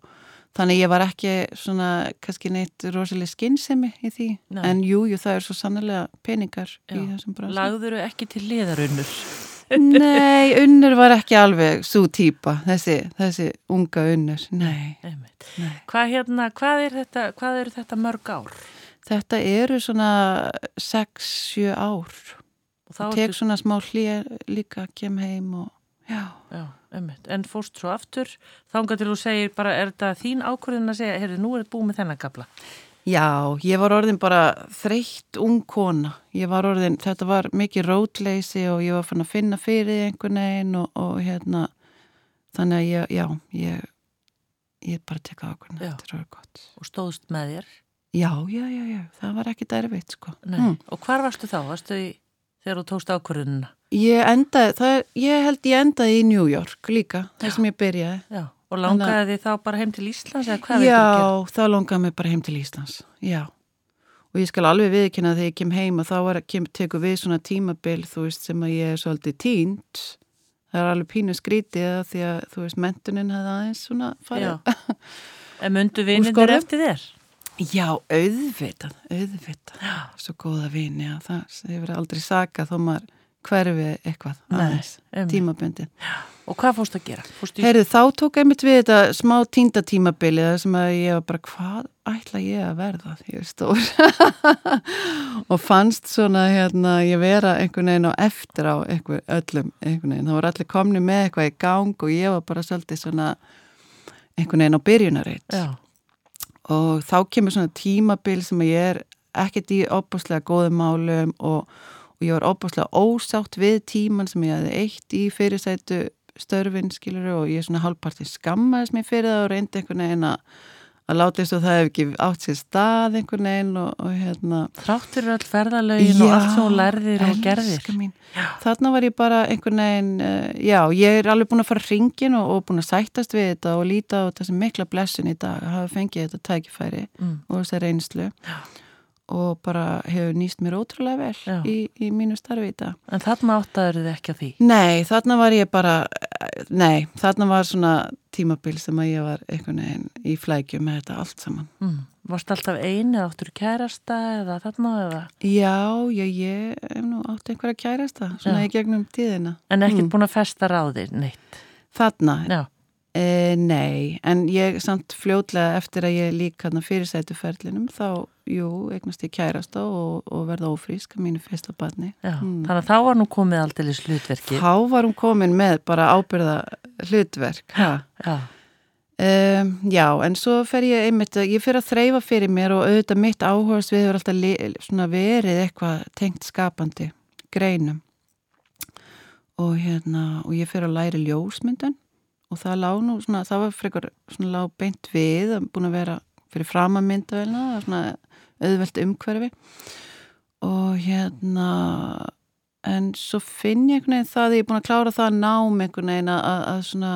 þannig ég var ekki svona, kannski neitt rosalega skinnsemi í því, Nei. en jú, jú, það er svo sannlega peningar í Já. þessum bransa. Lagður ekki til liðarunnur? Nei, unnur var ekki alveg svo típa, þessi, þessi unga unnur, nei. Einmitt. Nei. Hvað hérna, hvað er þetta, hvað eru þetta mörg ár? Þetta eru svona 6-7 ár. Og þá Það ertu- tek svona smá hlýja líka, kem heim og já. Já, einmitt. En fórst svo aftur, þángar til þú segir bara, er þetta þín ákvörðin að segja, heyrðu, nú er þetta búið með þennan gabla. Já, ég var orðin bara þreytt ung kona. Ég var orðin, þetta var mikið rótleysi og ég var fann að finna fyrir því einhvern veginn og, og hérna, þannig að ég, já, ég, ég bara teka ákvörðin, Já. þetta er orðið gott. Og stóðst með þér. Já, já, já, já, það var ekki derfitt, sko. Nei. Mm. Og hvar varstu þá? Varstu í, þegar þú tókst ákvörðinna? Ég endaði, það, er- ég held ég endaði í New York líka, þar sem ég byrjaði. Já. Og langaði þið þá bara heim til Íslands eða hvað vildirðu gera? Já, þá langaði mig bara heim til Íslands, já. Og ég skal alveg viðkynna að þegar ég kem heim og þá var, kem, tekur við svona tímabil, þú veist, sem að ég er svolítið tínt. Það er alveg pínu skrítið að því að, þú veist, mentunin hefði aðeins svona farið. Já. En mundu skorðum? vinindir eftir þér? Já, auðvitað, auðvitað. Svo góða vini að það hefur aldrei sakað þó maður hverfi eitthvað aðeins, einmitt. tímabundið. Og hvað fórst að gera? Fórstu í... Heyrðu, þá tók einmitt við þetta smá týnda tímabilið þar sem að ég var bara, hvað ætla ég að verða því ég er stór? og fannst svona, hérna, ég vera einhvern veginn á eftir á einhver, öllum, einhvern veginn. Það voru allir komni með eitthvað í gang og ég var bara svolítið svona einhvern veginn á byrjunarreitt Já, og þá kemur svona tímabil sem að ég er ekkert í opaslega góðum málum og, og ég var opaslega ósátt við tíman sem ég hefði eitt í fyrirsætu störfin skilur og ég svona hálfpartin skammaðis mér fyrir það og reyndi einhvern veginn að að láta eins og það hef ekki átt sér stað einhvern veginn og, og hérna þrátt fyrir öll ferðalögin og allt sem hún lærðir og gerðir. elska mín. Þarna var ég bara einhvern veginn, uh, já, ég er alveg búin að fara hringin og, og búin að sættast við þetta og líta á þessi mikla blessun í dag að hafa fengið þetta tækifæri Mm. og þessa reynslu já. og bara hefur nýst mér ótrúlega Já. vel í, í mínu starfi í dag. En þarna áttaður þið ekki á því. Nei, þarna var ég bara, eh, nei, þarna var svona tímabil sem að ég var einhvern veginn í flækju með þetta allt saman. Mm. Varst alltaf einu eða áttur kærasta eða þarna eða... Já, já, ég hef nú átt einhverja kærasta, svona Já. í gegnum tíðina. En ekkert Mm. búin að festa ráðir, neitt. Þarna, Já, E, nei, en ég samt fljótlega eftir að ég lík hann að fyrirsætu ferlinum þá, jú, eignast ég kærasta og, og verða ófrísk að mínu fyrsta barni. já. Mm. Þannig að þá var nú komið aldrei slutverki. Þá var hún komin með bara ábyrða hlutverk. Ha? Já, Um, já, en svo fer ég einmitt, að- ég fer að þreyfa fyrir mér og auðvitað mitt áhugast við hefur alltaf li, svona verið eitthvað tengt skapandi greinum og hérna, og ég fer að læra ljósmyndun og það lá nú svona, það var frekar svona lá beint við, búin að vera fyrir framamyndavelna, svona auðvelt umhverfi og hérna en svo finn ég einhvern veginn það þegar ég er búin að klára það að nám einhvern veginn að, að- að svona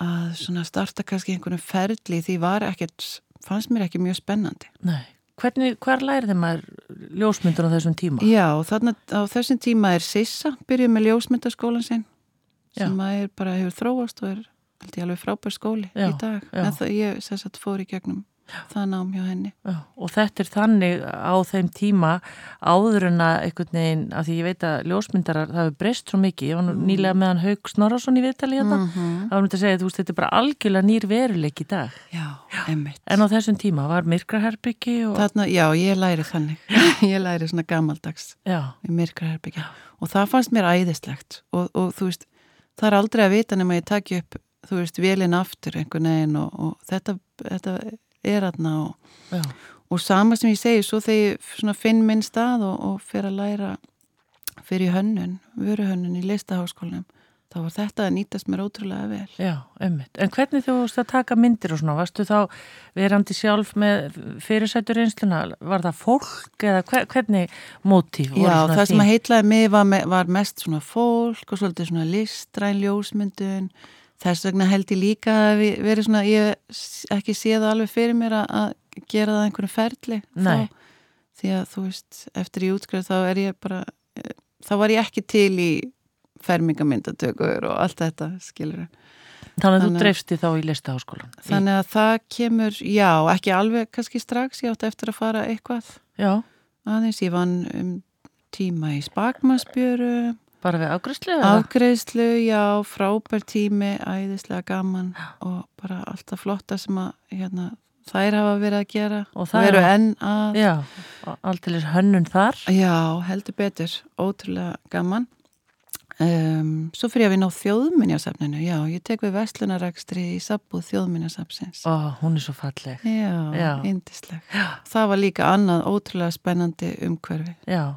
að svona starta kannski einhvern ferli því var ekkert, fannst mér ekki mjög spennandi. nei. Hvernig, hver lærið maður ljósmyndun á þessum tíma? Já, og þarna á þessum tíma er Sissa, byrjuð með ljósmyndaskólan sinn Já. sem að er bara hefur þróast og er held ég alveg frábær skóli Já, í dag. já. En það ég sess að fór í gegnum það nám hjá henni. Já, og þetta er þannig á þeim tíma áður en að einhvern veginn, af því ég veit að ljósmyndarar það hefur breyst svo mikið, ég var nú Mm. nýlega með hann Haug Snorarsson í viðtali hérna mm Mhm. -hmm. það var myndi að segja, þú veist, þetta er bara algjörlega nýr veruleik í dag, Já, emmitt. en á þessum tíma var myrkraherbyggi og Þarna, já, ég læri þannig. ég læri svona gamaldags já, í myrkraherbyggja. Og það fannst mér æðislegt og, og þú veist, það er aldrei að vita nema ég taki upp, þú veist, vélinn aftur einhvern veginn og, og þetta, þetta er aðna og, já, og sama sem ég segi, svo þegar ég svona finn minn stað og, og fer að læra fyrir hönnun, vöruhönnun í listaháskólanum, þá var þetta að nýtast mér ótrúlega vel. já, ummitt en hvernig þú veist að taka myndir og svona varstu þá verandi sjálf með fyrirsættur einsluna, var það fólk eða hver, hvernig mótíf voru Já, svona það sem þín? að heitlaði mig var, me- var mest svona fólk og svolítið svona listræn ljósmyndun. Þess vegna held ég líka að hafi verið svona, ég s- ekki sé það alveg fyrir mér að, að gera það einhverju ferli. Nei. Þá, því að þú veist, eftir ég útskriði þá er ég bara, eh, þá var ég ekki til í fermingamyndatökur og allt þetta, skilur. þannig að þú Þannig- dreifsti þá í listaháskólan Í- Þannig að það kemur, já, ekki alveg kannski strax, ég átti eftir að fara eitthvað já, aðeins. Ég vann um tíma í spakmansbjöru. bara við afgræslu Afgreðslu, já, frábær tími, æðislega gaman og bara alltaf flotta sem að hérna, þær hafa verið að gera Og og það eru hafa- enn að, já. Já, aldrei hönnun þar. heldur betur, ótrúlega gaman. Um, svo fyrir ég að vinna á þjóðminjasafninu, já, ég tek við veslunarrekstri í sabbúð þjóðminjasafnsins. Ó, hún er svo falleg. Já, já, Já. indisleg. Það var líka annað ótrúlega spennandi umhverfi Já,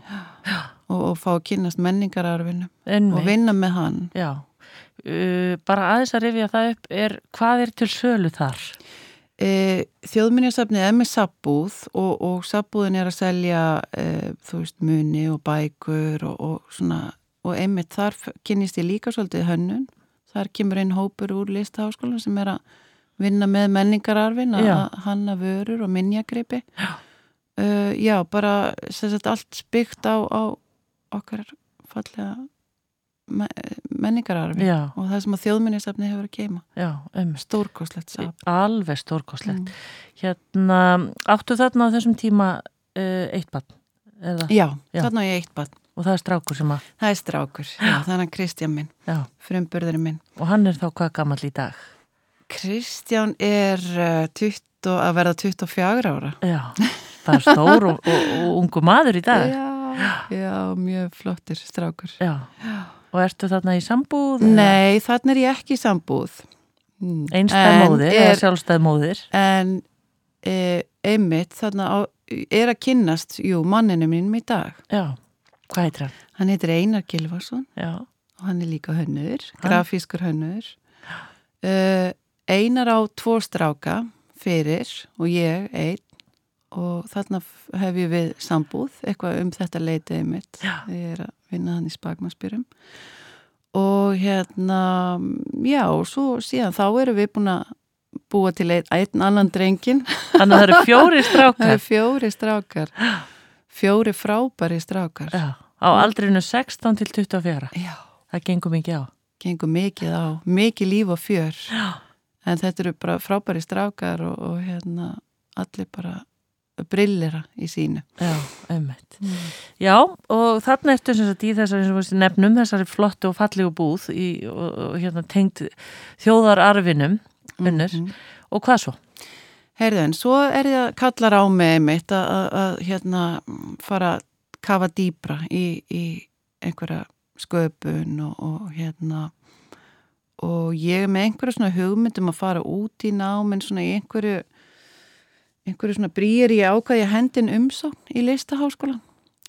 og, og fá að kynnast menningararfinu enn og vinna með hann. Já, uh, bara aðeins að rifja það upp er hvað er til sölu þar? E, Þjóðminjasafnið er með sabbúð og, og sabbúðin er að selja e, þú veist muni og bækur og, og svona og einmitt þar f- kynnist ég líka svolítið hönnun þar kemur einn hópur úr listaháskólan sem er að vinna með menningararfin að Já. að hanna vörur og minnjagripi já. já, bara sem sagt allt byggt á, á okkar fallega me, menningararfi Já, og það sem að þjóðminjasafnið hefur að keima já, um. stórkoslegt sabb Alveg Mm. stórkoslegt. Hérna, áttu þarna á þessum tíma uh, eitt bann? Eða? Já, Já. þarna á ég eitt barn og það er strákur sem að, Það er strákur, já, þannig að Kristján minn, já, frumburðurinn minn. og hann er þá hvað gammal í dag. Kristján er uh, 20, að verða 24 ára. Já, það er stór og, og, og ungu maður í dag. Já, já, mjög flottir strákur. Já, og ertu þarna í sambúð? Nei, þannig er ég ekki í sambúð. Mm. Einstæð En móðir eða er, sjálfstæð móðir? En e, einmitt, þannig á, er að kynnast, jú, manninu mínum í dag. Já, hvað heitir hann? Hann heitir Einar Gilvarsson Já, og hann er líka hönnur, Hann- grafískur hönnur. Uh, Einar á tvo stráka fyrir og ég einn og þarna f- hef ég við sambúð, eitthvað um þetta leitiði mitt. Já. Ég er að vinna hann í spagmaspyrum. Og hérna, já, og svo síðan þá erum við búin að búa til einn, einn annan drengin. þannig að það eru fjóri Það strákar. eru fjóri strákar, fjóri frábæri strákar. Já, á aldrinu 16 til 24. já. Það gengur mikið á. gengur mikið á, mikið líf og fjör en þetta eru bara frábæri strákar og, og hérna allir bara brillera í sínu Já, ummitt. Mm. Já, og þarna ertu sem sagt í þessari eins og við nefnum, þessari flottu og fallegu búð í, og, og hérna tengd þjóðararfinum, unnur. Mhm. Og hvað svo? Heyrðu en svo er ég að kallar á mig einmitt að, að, að hérna mm, fara að kafa dýbra í, í einhverja sköpun og, og hérna og ég er með einhverja svona hugmyndum að fara út í náminn svona í einhverju einhverju svona brýir ég ákvað ég hendin umsókn í listaháskólan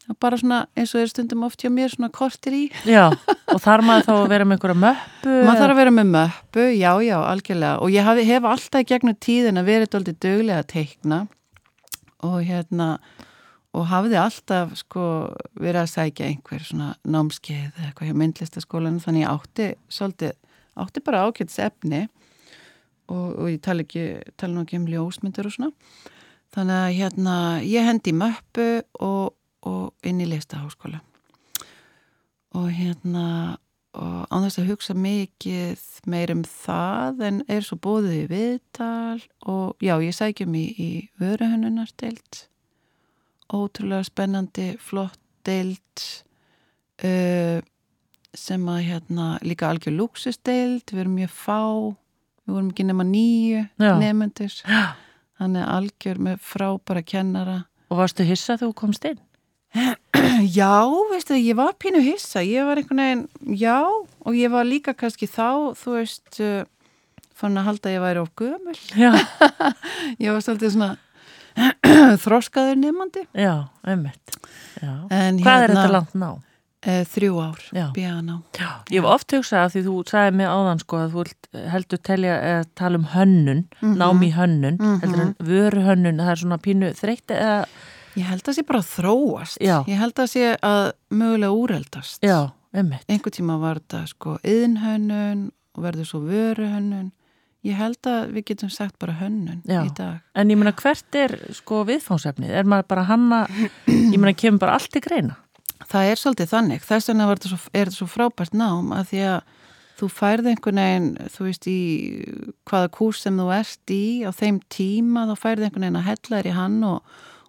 og bara svona eins og er stundum oft hjá mér svona kortir í Já, og þar maður þá að vera með einhverja möppu. maður þarf að vera með möppu, já já algjörlega og ég hef, hef alltaf í gegnum tíðin að verið doldið döglega að teikna og hérna og hafði alltaf sko verið að sækja einhver svona námskeið eða eitthvað hjá myndlistaskólan þannig ég átti svolítið, átti bara ákjölds efni og, og ég tala ekki, tala nú ekki um ljósmyndir og svona þannig að hérna ég hendi í möppu og, og inn í listaháskóla og hérna og án þess að hugsa mikið meir um það en er svo bóðið í viðtal og já, ég sækjum í, í vöruhönnunar deilt ótrúlega spennandi, flott deilt uh, sem að hérna líka algjör luxus deilt, við erum mjög fá við vorum ekki nema nýju Já. nefnendur hann er algjör með frábæra kennara Og varstu hissa þegar þú komst inn? Já, veistu, ég var pínu hissa, ég var einhvern veginn, já, og ég var líka kannski þá, þú veist, uh, fann að halda að ég væri of gömul. Já, Ég var svolítið svona þroskaður nefnandi. já, ummitt. Já. En hérna, Hvað er þetta langt ná? Eh, þrjú ár, Já. bíana. Já, ég hef oft hugsað að því þú sagði mig áðan sko að þú vilt heldur telja að tala um hönnun, nám í hönnun, heldur en vöru hönnun, það er svona pínu þreytti eða, Ég held að sé bara að þróast. Já. Ég held að sé að mögulega úreldast. já, ummitt. einhver tíma var þetta sko yðnhönnun og verður svo vöruhönnun. Ég held að við getum sagt bara hönnun Já. í dag. En ég meina hvert er sko viðfónsefnið? Er maður bara hanna, ég meina kemur bara allt í greina? Það er svolítið þannig. Þess vegna var þetta svo, er þetta svo frábært nám að því að þú færði einhvern veginn, þú veist, í hvaða kús sem þú ert í á þeim tíma, þá færði einhvern veginn að hella þér í hann og,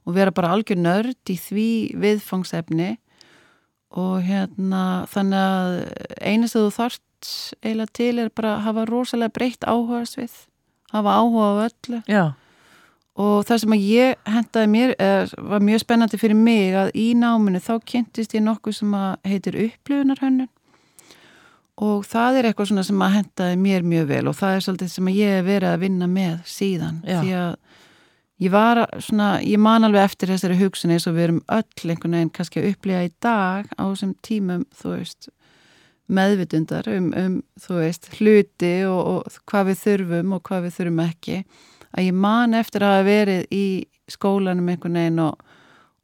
og vera bara algjör nörd í því viðfangsefni og hérna þannig að eina sem þú þart eiginlega til er bara að hafa rosalega breytt áhuga svið, hafa áhuga á öllu Já, og það sem að ég hentaði mér er, var mjög spennandi fyrir mig að í náminu þá kynntist ég nokkuð sem að heitir upplifunarhönnun og það er eitthvað svona sem að hentaði mér mjög vel og það er svolítið sem að ég hef verið að vinna með síðan Já. því að ég var að- svona, ég man alveg eftir þessari hugsun eins og við erum öll einhvern veginn kannski að upplifa í dag á þessum tímum, þú veist meðvitundar um, um þú veist, hluti og, og hvað við þurfum og hvað við þurfum ekki að ég man eftir að hafa verið í skólanum einhvern veginn og,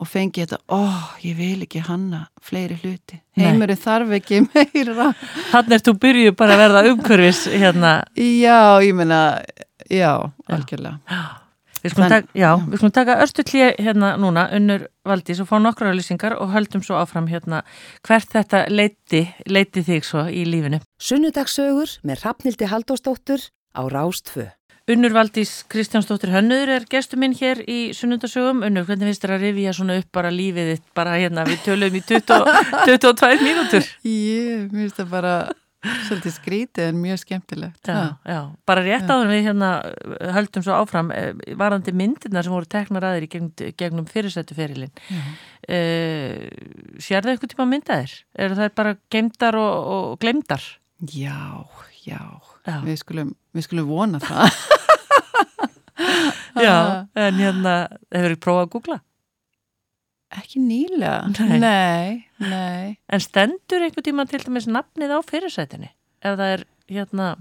og fengi þetta, ó, ég vil ekki hanna fleiri hluti, Nei. heimurinn þarf ekki meira þannig er þú byrjuð bara að verða umhverfis hérna. já, ég meina, já, algjörlega Við skulum, Þann- taka, já, við skulum taka örstu klíð hérna núna unnur Valdís og fá nokkra auðlýsingar og höldum svo áfram hérna hvert þetta leiti, leiti þig svo í lífinu. Sunnudagsögur með Hrafnildi Haldósdóttur á Rástfö. Unnur Valdís Kristjánsdóttir Hönnur er gestur minn hér í sunnundasögum. Unnur, hvernig finnst þér að rifja svona upp bara lífið þitt bara hérna við tölum í 20, 22 mínútur? Ég, mér finnst það bara svolítið skrítið en mjög skemmtilegt. Já, já, bara rétt áður en við hérna uh, höldum svo áfram eh, varandi myndirna sem voru teknar aðeir í gegnum, gegnum fyrirsættu fyrirlin uh, Sér það eitthvað tíma myndaðir? Eru það bara gemdar og, og glemdar? Já, já, Já. Við, skulum, við skulum vona það. Já, en hérna hefur þið prófað að googla Ekki nýlega. Nei. nei. nei. En stendur einhver tíma til dæmis nafnið á fyrirsættinni? Ef það er, hérna,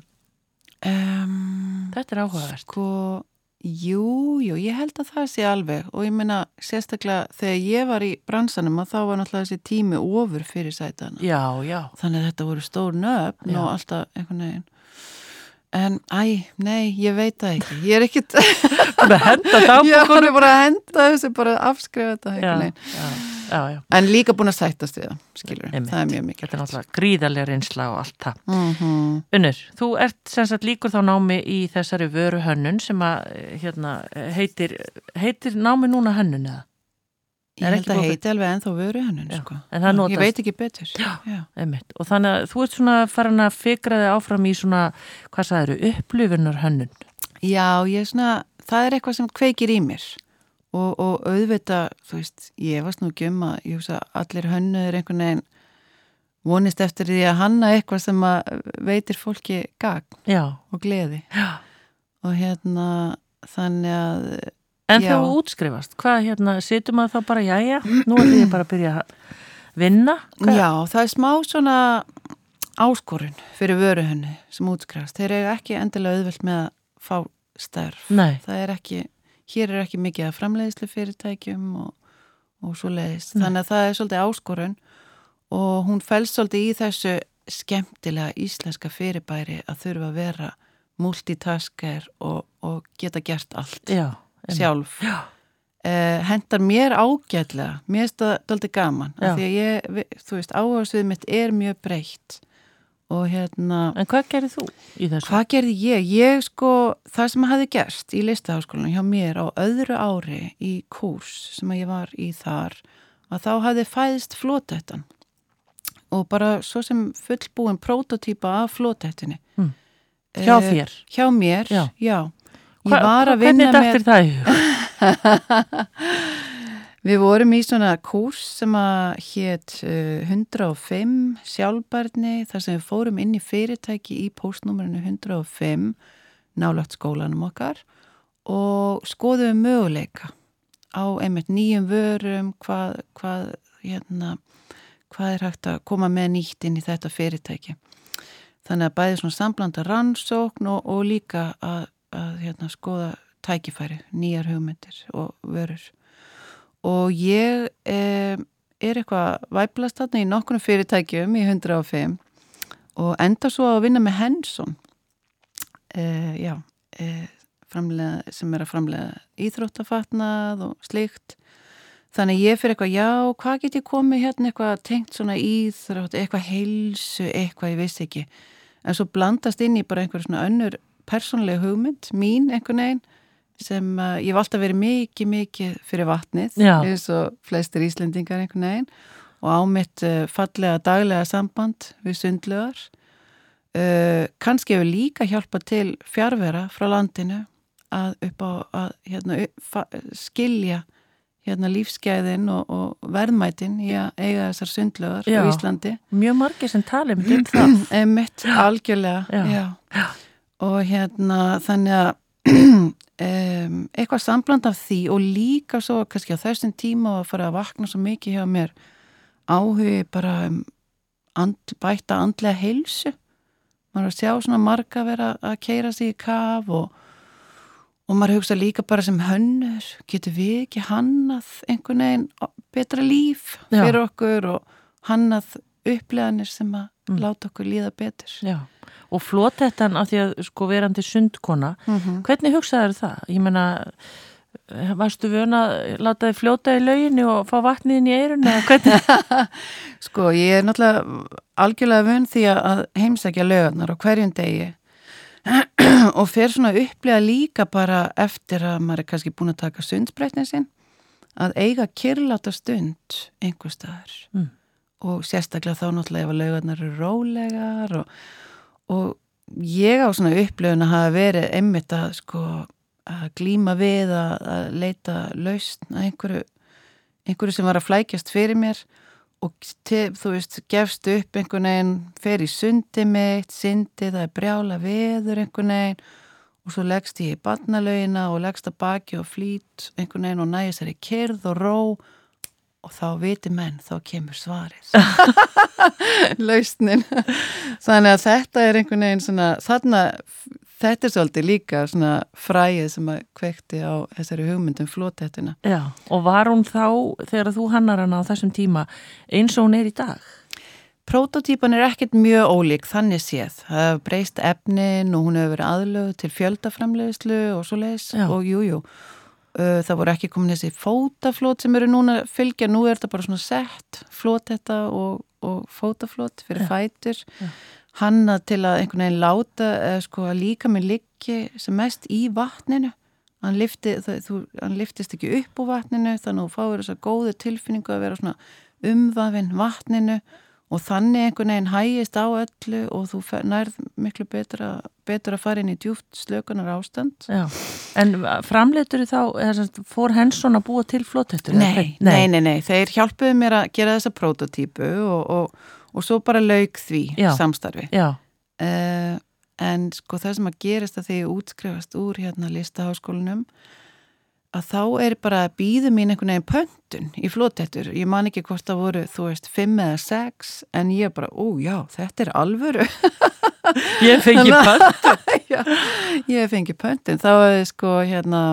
Um, þetta er áhugavert sko, jú, jú, ég held að það sé alveg og ég meina sérstaklega þegar ég var í bransanum að þá var náttúrulega þessi tími ofur fyrir sætana. Já, já, Þannig að þetta voru stór nöfn Já. og alltaf einhvern veginn. En, æ, nei, ég veit það ekki. Ég er ekkit, ég það henda er alveg bara að henda þessu, bara að afskrifa þetta já, einhvern veginn. já, já, já En líka búin að sættast við það, skilur. Einmitt. Það er mjög mikilvægt. Þetta er náttúrulega gríðarlega reynsla og allt það Mhm. Unnur, þú ert sem sagt líkur þá námi í þessari vöru hönnun sem að eh, hérna, eh, heitir, heitir námi núna hönnun eða? Ég Er held ekki að lokað? heiti alveg ennþá vöru hennun, Já, sko. en það Já, notast. Ég veit ekki betur. Já. Já. Einmitt. Og þannig að þú ert svona farin að fikra þig áfram í svona, hvað sagður, upplifunar hönnun. ég er svona, það er eitthvað sem kveikir í mér. Og, og auðvita, þú veist, ég varst nú ekki um að, ég hugsa, allir hönnuður einhvern veginn vonist eftir því að hanna eitthvað sem að veitir fólki gagn Já. og gleði. Já. Og hérna, þannig að En Já. þegar þú útskrifast, hvað hérna, situr maður þá bara, jæja, nú er ég bara að byrja að vinna? Hvað? Já, það er smá svona áskorun fyrir vöruhönni sem útskrifast. Þeir eru ekki endilega auðvelt með að fá starf. Nei. Það er ekki, hér er ekki mikið að framleiðslu fyrirtækjum og, og svo leiðis. Þannig að það er svolítið áskorun og hún fælst svolítið í þessu skemmtilega íslenska fyrirbæri að þurfa að vera multitasker og, og geta gert allt Já. einmitt. sjálf Já. uh, hendar mér ágætlega mér finnst það daldið gaman Já. af því að ég, vi- þú veist, áhersvið mitt er mjög breytt og hérna En hvað gerir þú í þessu? hvað gerði ég? Ég sko það sem hafði gerst í listaháskólanum hjá mér á öðru ári í kurs sem að ég var í þar að þá hafði fæðst flótættan og bara svo sem fullbúin prototípa af flótættinni Mm. Hjá Eh, þér? Hjá mér, Já. já, Ég Hva- var hva- að vinna Hvernig með dættir það í hug? Við vorum í svona kurs sem að hétt uh, 105 sjálfbarni þar sem við fórum inn í fyrirtæki í postnúmerinu 105 nálagt skólanum okkar og skoðum möguleika á einmitt nýjum vörum hvað, hvað, hérna, hvað er hægt að koma með nýtt inn í þetta fyrirtæki. Þannig að bæði svona samblanda rannsókn og, og líka að, að hérna, skoða tækifæri, nýjar hugmyndir og vörur og ég eh, er eitthvað væplast þarna í nokkurnum fyrirtækjum í 105 og enda svo að vinna með Henson eh, já eh, framlega, sem er að framlega íþróttafatnað og slikt þannig að ég fyrir eitthvað já, hvað get ég komið hérna eitthvað tengt svona íþrótt eitthvað heilsu, eitthvað ég vissi ekki en svo blandast inn í bara einhver svona önnur persónlega hugmynd, mín einhvern veginn sem uh, ég hef alltaf verið mikið, mikið fyrir vatnið Já. eins og flestir Íslendingar einhvern veginn og á mitt uh, fallega daglega samband við sundlöðar uh, kannski hefur líka hjálpað til fjárvera frá landinu að upp á að hérna, upp, fa- skilja hérna lífsgæðin og, og verðmætin í að eiga þessar sundlöðar Já. á Íslandi Mjög margir sem tala um þetta. Emitt, algjörlega Já. Já. og hérna þannig að um, eitthvað sambland af því og líka svo kannski á þessum tíma að fara að vakna svo mikið hjá mér áhugi bara um and, bæta andlega heilsu maður er að sjá svona marga vera að keira sig í kaf og, og maður hugsa líka bara sem hönnur getur við ekki hannað einhvern veginn betra líf Já. fyrir okkur og hannað uppleganir sem að Mm. láta okkur líða betur Já, og flótettan af því að sko verandi sundkona, Mhm. hvernig hugsaður það? Ég meina, varstu vöna að láta þið fljóta í lauginu og fá vatnið inn í eirun eða hvernig? Sko, ég er náttúrulega algjörlega vun því að heimsækja lögarnar á hverjum degi og fer svona að upplega líka bara eftir að maður er kannski búin að taka sundsbreytin sinn að eiga kyrláta stund einhver staðar Mm. og sérstaklega þá náttúrulega ef að laugarnar eru rólegar og, og ég á svona upplegun að hafa verið einmitt að sko að glíma við að, að leita lausn að einhverju, einhverju sem var að flækjast fyrir mér og te, þú veist, gefst upp einhvern veginn, fer í sundi mitt, syndi, það er brjála veður einhvern veginn og svo leggst ég í barnalögina og leggst að baki og flýt einhvern veginn og næði sér í kyrð og ró og þá viti menn, þá kemur svarið. Lausnin. Þannig að þetta er einhvern veginn svona, þarna, þetta er svolítið líka svona fræið sem að kveikti á þessari um hugmyndum flótettuna. Já, og var hún þá, þegar þú hannar hana á þessum tíma, eins og hún er í dag? Prototípan er ekkert mjög ólík, þannig séð. Það hefur breyst efnin og hún hefur verið aðlöð til fjöldaframleiðslu og svo leiðis Já. og jú, jú. Uh, Það voru ekki komin þessi fótaflót sem eru núna að fylgja, nú er þetta bara svona sett flót þetta og, og fótaflót fyrir fætur. Hanna til að einhvern veginn láta eða sko að líka með liggi sem mest í vatninu. Hann, lyfti, það, þú, hann lyftist ekki upp úr vatninu þannig að þú fáir þessa góðu tilfinningu að vera svona umvafinn vatninu og þannig einhvern veginn hægist á öllu og þú fer- nærð miklu betra, betra að fara inn í djúft slökunar ástand. Já. En framleitur þá, eða sem sagt, fór Hensson að búa til flótettur? Nei, nei, nei, nei, þeir hjálpuðu mér að gera þessa prototípu og, og, og svo bara lauk því Já. samstarfi. Já, Uh, en sko það sem að gerist að því ég útskrifast úr hérna listaháskólanum að þá er bara að býðu mín einhvern veginn pöntun í flótettur. Ég man ekki hvort það voru, þú veist, fimm eða sex en ég bara, ó já, þetta er alvöru. ég fengi Þannig pönt. Já, ég fengi pöntin. Þá var þið sko hérna,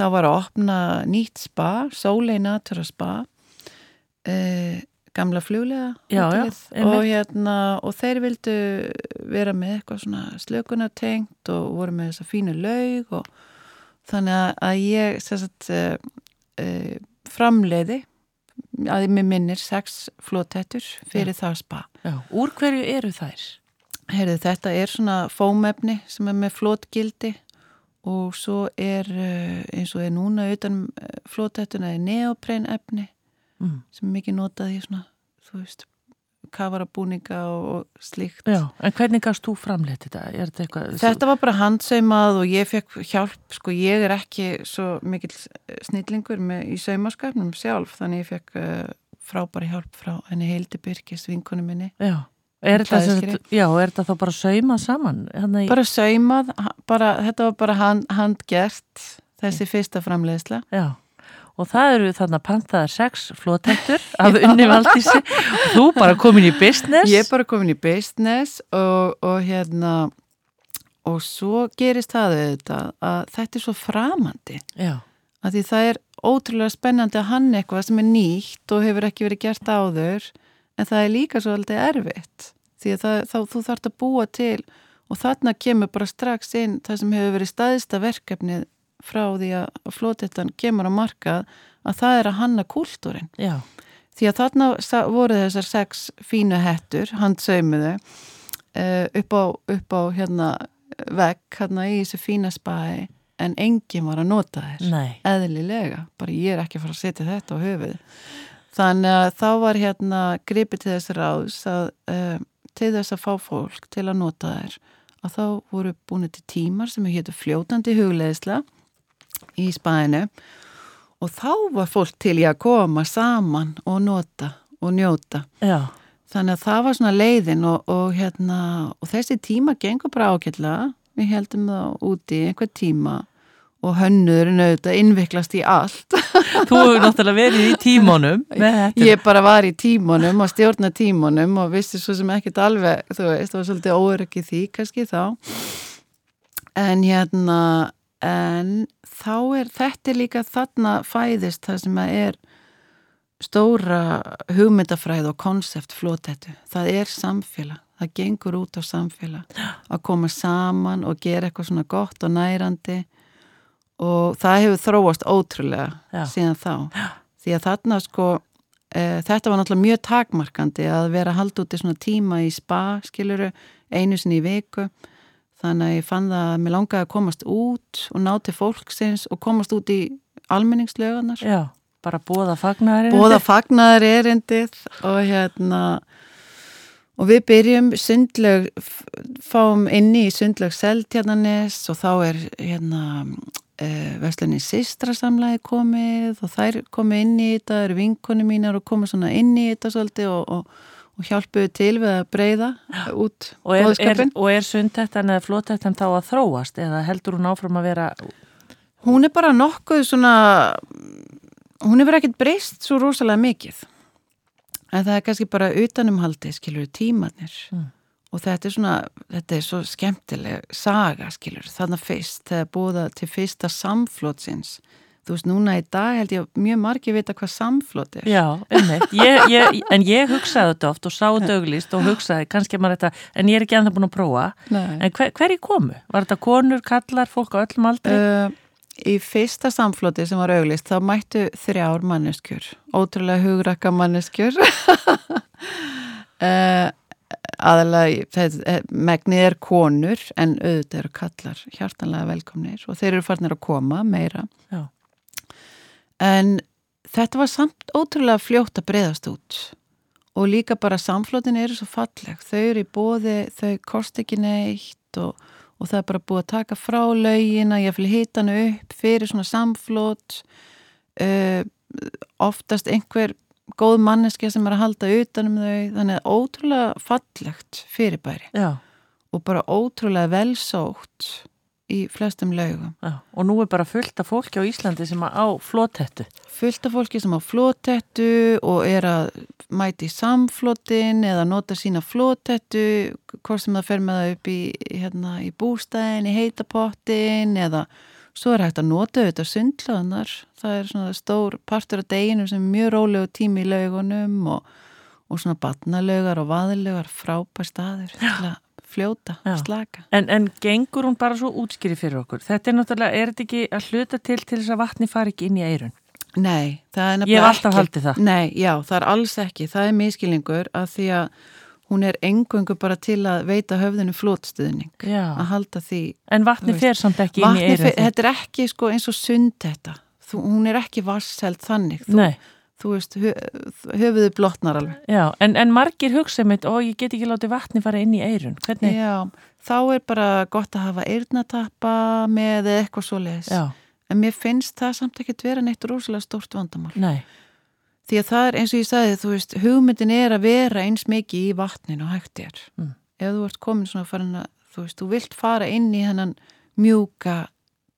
þá var að opna nýtt spa, Soleil Natura Spa, eh, gamla fluglega. Já, já, hótelið. einmitt. Og hérna, og þeir vildu vera með eitthvað svona slökunartengt og voru með þessa fínu laug og þannig að- að ég, sem sagt, eh, eh, framleiði að ég mig minnir sex flótettur fyrir það spa. Já. Úr hverju eru þær? Herðu, þetta er svona fómefni sem er með flótgildi og svo er eh, eins og er núna utan flótættuna er neopreinefni Mm. sem er mikið notað í svona, þú veist, kafarabúninga og, og slíkt. Já, en hvernig gafst þú framleitt þetta? Er þetta eitthvað? Þetta var bara handsaumað og ég fekk hjálp, sko ég er ekki svo mikill eh, snillingur með, í saumaskapnum sjálf þannig ég fekk uh, frábæri hjálp frá henni Hildi Birkis vinkunum minni. Já. Er þetta, sem Klæðaskeri. sagt- já, er þetta þá bara saumað saman? hérna Þannig, bara saumað, ha- bara, þetta var bara hand, handgert þessi fyrsta framleiðsla Já, og það eru þarna pantaðar sex flótættur af unni valdísi og þú bara komin í business. ég er bara komin í business og, og hérna og svo gerist það auðvitað að þetta er svo framandi Já, að því það er ótrúlega spennandi að hann eitthvað sem er nýtt og hefur ekki verið gert áður en það er líka svolítið erfitt því að það, þá, þú þarft að búa til og þarna kemur bara strax inn það sem hefur verið staðista verkefnið frá því að flótettan kemur á markað að það er að hanna kúltúrin já, því að þarna sa- voru þessar sex fínu hettur, handsaumuðu eh, upp á, upp á hérna vekk hérna í þessu fína spæi en enginn var að nota þér nei. eðlilega, bara ég er ekki að fara að setja þetta á höfuð. Þannig að þá var hérna gripið til þess ráðs að uh, til þess að fá fólk til að nota þær að þá voru búin til tímar sem hétu fljótandi hugleðisla í spæðinu og þá var fólk til í að koma saman og nota og njóta. Já, Þannig að það var svona leiðin og, og, hérna, og þessi tíma gengur bara ákjörlega. Við heldum það úti í einhver tíma og hönnurinn auðvitað innviklast í allt. þú hefur náttúrulega verið í tímanum með þetta. Ég bara var í tímanum og stjórna tímanum og vissi svo sem ekkert alveg, þú veist, það var svolítið óöryggi því kannski þá. En hérna, en þá er þetta er líka þarna fæðist það sem að er stóra hugmyndafræð og konsept flótettu. Það er samfélag. Það gengur út á samfélag. Að koma saman og gera eitthvað svona gott og nærandi og það hefur þróast ótrúlega Já. síðan þá. Já. Því að þarna sko, e, þetta var náttúrulega mjög takmarkandi að vera að halda út í svona tíma í spa, skiluru, einu sinni í viku. Þannig að ég fann það að mér langaði að komast út og ná til fólksins og komast út í almenningslögunar. Já, bara bóða fagnarinn. Bóða fagnaðar erindið og hérna og við byrjum sundlög fáum inni í sundlög Seltjarnanes og þá er hérna uh, Vestlunni Sistrasamlaði komið og þær komið inni í þetta, eru vinkonu mínar og komið svona inni í þetta svolítið og, og, og hjálpuðu til við að breyða út Og er, er, boðskapin. og er sundtættan eða flótættan þá að þróast eða heldur hún áfram að vera Hún er bara nokkuð svona, hún hefur ekkert breyst svo rosalega mikið. En það er kannski bara utanumhaldið, skilur, tímanir. Mm. Og þetta er svona, þetta er svo skemmtileg saga, skilur, þarna fyrst, þegar búða til fyrsta samflótsins. Þú veist, núna í dag held ég að mjög margir vita hvað samflót er. Já, einmitt. Ég, ég, en ég hugsaði þetta oft og sá þetta auglist og hugsaði kannski að maður þetta, en ég er ekki ennþá búin að prófa. Nei. En hver, hverju komu? Var þetta konur, kallar, fólk á öllum aldri? Uh, í fyrsta samflóti sem var auglist, þá mættu þrjár manneskjur, ótrúlega hugrakka manneskjur. uh, aðalega, það- eh, megnið er konur, en auðvitað eru kallar hjartanlega velkomnir og þeir eru farnir að koma meira. Já. En þetta var samt ótrúlega fljótt að breyðast út og líka bara samflotin eru svo falleg. Þau eru í bóði, þau kosti ekki neitt og, og það er bara búið að taka frá laugina, ég fylg hita hana upp fyrir svona samflot. Uh, oftast einhver góð manneski sem er að halda utanum þau, þannig að ótrúlega fallegt fyrirbæri Já, og bara ótrúlega velsótt í flestum laugum. já. Og nú er bara fullt af fólki á Íslandi sem að á flótættu. fullt af fólki sem á flótettu og er að mæti í samflotin eða nota sína flótettu hvort sem það fer með það upp í, hérna, í bústæðin, í heitapottin eða svo er hægt að nota þetta sundlöðanar. Það er svona stór partur af deginu sem er mjög rólegu tími í laugunum og, og svona batnalögar og vaðlögar frábær staður til að fljóta, Já. slaka. En, en gengur hún bara svo útskýri fyrir okkur? Þetta er náttúrulega, er þetta ekki að hluta til til þess að vatni fari ekki inn í eirun? Nei, það er Ég nefnilega hef alltaf ekki- haldið það. Nei, já, það er alls ekki. Það er miskilningur að því að hún er engungu bara til að veita höfðinu flótstuðning. Að Já. halda því. En Þú vatni veist, fer samt ekki inn í Vatni, eirun? fe- þetta er ekki sko eins og sund þetta. Þú, hún er ekki vasselt þannig. Þú, Nei, þú veist, hö, höfuðu blotnar alveg. já, en, en margir hugsa mitt, ó, ég get ekki látið vatni fara inn í eirun, hvernig? Já, þá er bara gott að hafa eyrnatappa með eða eitthvað svoleiðis. Já, En mér finnst það samt ekki vera neitt rosalega stórt vandamál. nei, Því að það er eins og ég sagði, þú veist, hugmyndin er að vera eins mikið í vatnin og hægt er. Mm. Ef þú ert komin svona farin að, þú veist, þú vilt fara inn í hennan mjúka,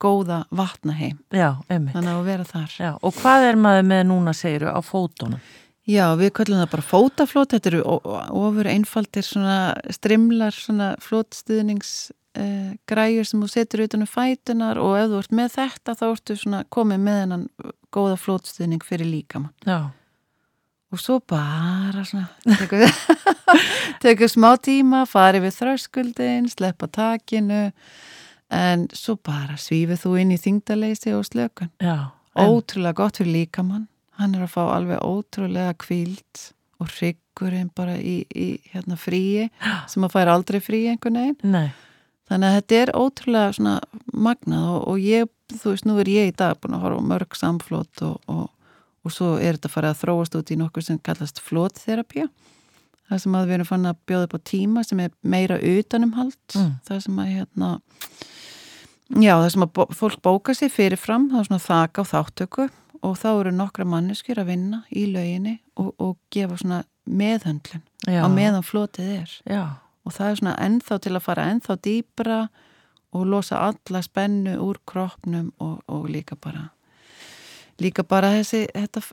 góða vatnaheim. já, emmi. Þannig að vera þar. Já, og hvað er maður með núna, segiru, á fótunum? Já, við kallum það bara fótaflót, þetta eru o- o- ofur einfaldir svona strimlar, svona flótstuðningsgræjur sem þú setur utan um fætunar og ef þú ert með þetta þá ertu svona komið með hennan góða flótstuðning fyrir líkamann. Já, og svo bara svona tekur, tekur smá tíma farið við þröskuldin, sleppa takinu en svo bara svífið þú inn í þingdaleysi og slökun já. en- ótrúlega gott fyrir líkamann hann er að fá alveg ótrúlega kvíld og hryggurinn bara í, í hérna fríi sem að færa aldrei fríi einhvern veginn Nei, Þannig að þetta er ótrúlega svona magnað og, og ég, þú veist, nú er ég í dag búin að horfa á mörg samflót og, og, og svo er þetta farið að þróast út í nokkuð sem kallast flótterapía. Það sem að við erum fann að bjóða upp á tíma sem er meira utanumhald. Mm. Það sem að, hérna, já, það sem að bó- fólk bóka sér fyrirfram, það er svona þaka og þáttöku og þá eru nokkra manneskjur að vinna í löginni og, og gefa svona meðhöndlun já. á meðan flótið er Já, og það er svona ennþá til að fara ennþá dýpra og losa alla spennu úr kroppnum og, og líka bara líka bara þessi þetta,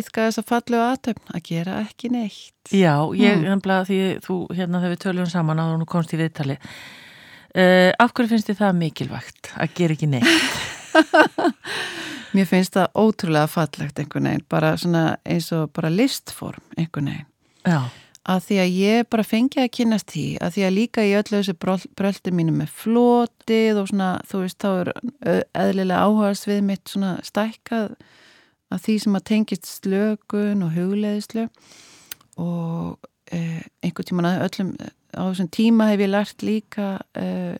yfka þess að fallu aðtöfn að gera ekki neitt já, ég, Mm. nefnilega, því þú, hérna, þegar við töljum saman að hún komst í viðtali. Uh, af hverju finnst þið það mikilvægt að gera ekki neitt? mér finnst það ótrúlega fallegt einhvern veginn, bara svona eins og bara listform einhvern veginn Já, að því að ég bara fengi að kynast því að því að líka í öllu þessu bröl- brölti mínu með flotið og svona þú veist þá er ö- eðlilega áhugaðsvið mitt svona stækkað að því sem að tengist slökun og e, hugleðislu og eh, einhvern tíman að öllum á þessum tíma hef ég lært líka eh,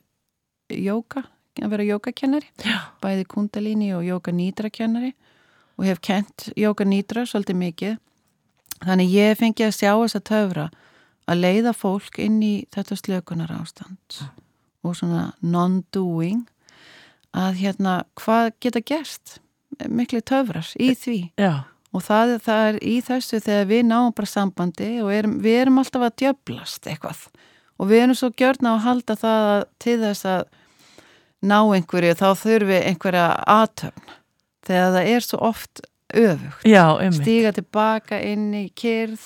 jóka, að vera jókakennari Já. bæði kundalíni og jóka nýtra kennari og hef kent jóka nýtra svolítið mikið þannig ég fengi að sjá þess að töfra að leiða fólk inn í þetta slökunar ástand og svona non-doing að hérna hvað geta gerst miklu töfrar í því Já. og það, það er í þessu þegar við náum bara sambandi og erum, við erum alltaf að djöblast eitthvað og við erum svo gjörna að halda það að- til þess að ná einhverju þá þurfi einhverja aðtöfn þegar það er svo oft öfugt Já, einmitt. stíga tilbaka inn í kyrð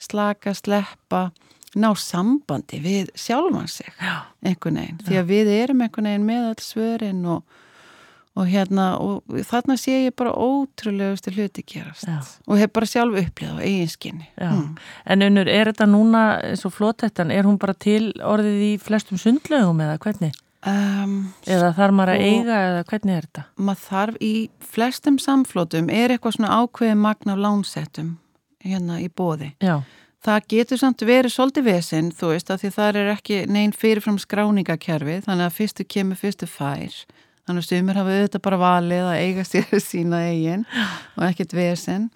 slaka, sleppa ná sambandi við sjálfan sig Já. einhvern veginn, því að við erum einhvern veginn með all svörin og, og hérna, og þarna sé ég bara ótrúlegustu hluti gerast Já. og hef bara sjálf upplýðað á eiginskinni Já. En unnur, er þetta núna eins og flótettan, er hún bara til orðið í flestum sundlaugum eða hvernig? um, Eða þarf maður að Sko- eiga eða hvernig er þetta? maður þarf í flestum samflótum er eitthvað svona ákveðið magn af lánsettum hérna í bóði Já, það getur samt verið svolítið vesinn, þú veist, að því það er ekki neinn fyrirfram skráningakerfi, þannig að fyrstu kemur, fyrstu fær. Þannig að sumir hafa auðvitað bara valið að eiga sér sína eigin og ekkert vesinn.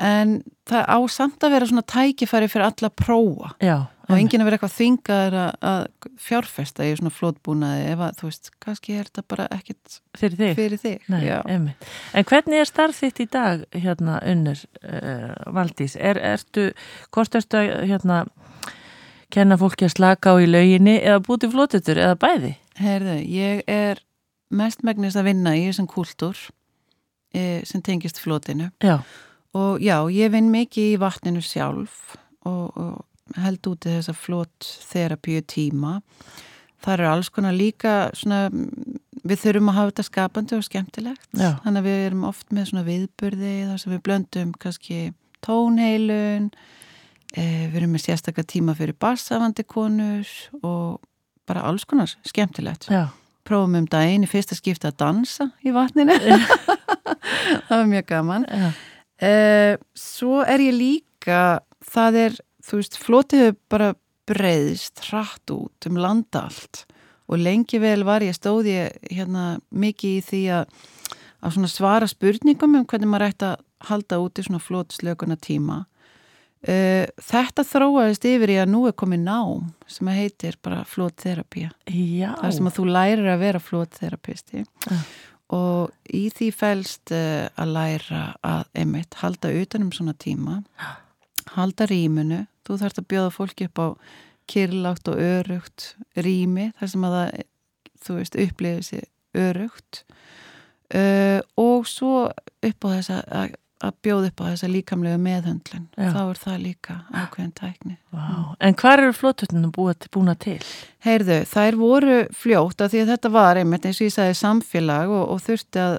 En það á samt að vera svona tækifæri fyrir alla að prófa. já. Og enginn að vera eitthvað þingaður að, að fjárfesta í svona flótbúnaði ef að, þú veist, kannski er þetta bara ekkert Fyrir þig? fyrir þig. Nei, Já. einmitt. En hvernig er starf þitt í dag, hérna, unnur, uh, Valdís? Er, ertu, hvort ertu að, hérna, kenna fólki að slaka á í lauginni eða búti flótetur eða bæði? Herðu, ég er mestmægnis að vinna í þessum kúltúr e, sem tengist flótinu. Já, Og já, ég vinn mikið í vatninu sjálf og, og held úti þessa flott þerapíu tíma. Það eru alls konar líka svona, mm, við þurfum að hafa þetta skapandi og skemmtilegt. Já. Þannig að við erum oft með svona viðburði þar sem við blöndum kannski tónheilun, e, við erum með sérstakka tíma fyrir barsafandi konur og bara alls konar skemmtilegt já, prófum um daginn í fyrsta skipta að dansa í vatninu það var mjög gaman já, uh, svo er ég líka það er, þú veist, flotið hefur bara breyðst hratt út um landa allt og lengi vel var ég stóð ég hérna mikið í því að að svona svara spurningum um hvernig maður ætti að halda úti svona flott slökuna tíma uh, þetta þróaðist yfir í að nú er komið nám sem að heitir bara flott þerapía já. þar sem að þú lærir að vera flótterapisti Já. og í því fælst uh, að læra að einmitt halda utanum svona tíma halda rýmunu þú þarfst að bjóða fólki upp á kyrlátt og örugt rými þar sem að það, þú veist, upplifið sér örugt uh, og svo upp á þessa að, að bjóða upp á þessa líkamlega meðhöndlun Já. þá er það líka ákveðin tækni Vá. En hvar eru flótetunum búna til? Heyrðu, þær voru fljótt að því að þetta var einmitt eins og ég sagði samfélag og, og þurfti að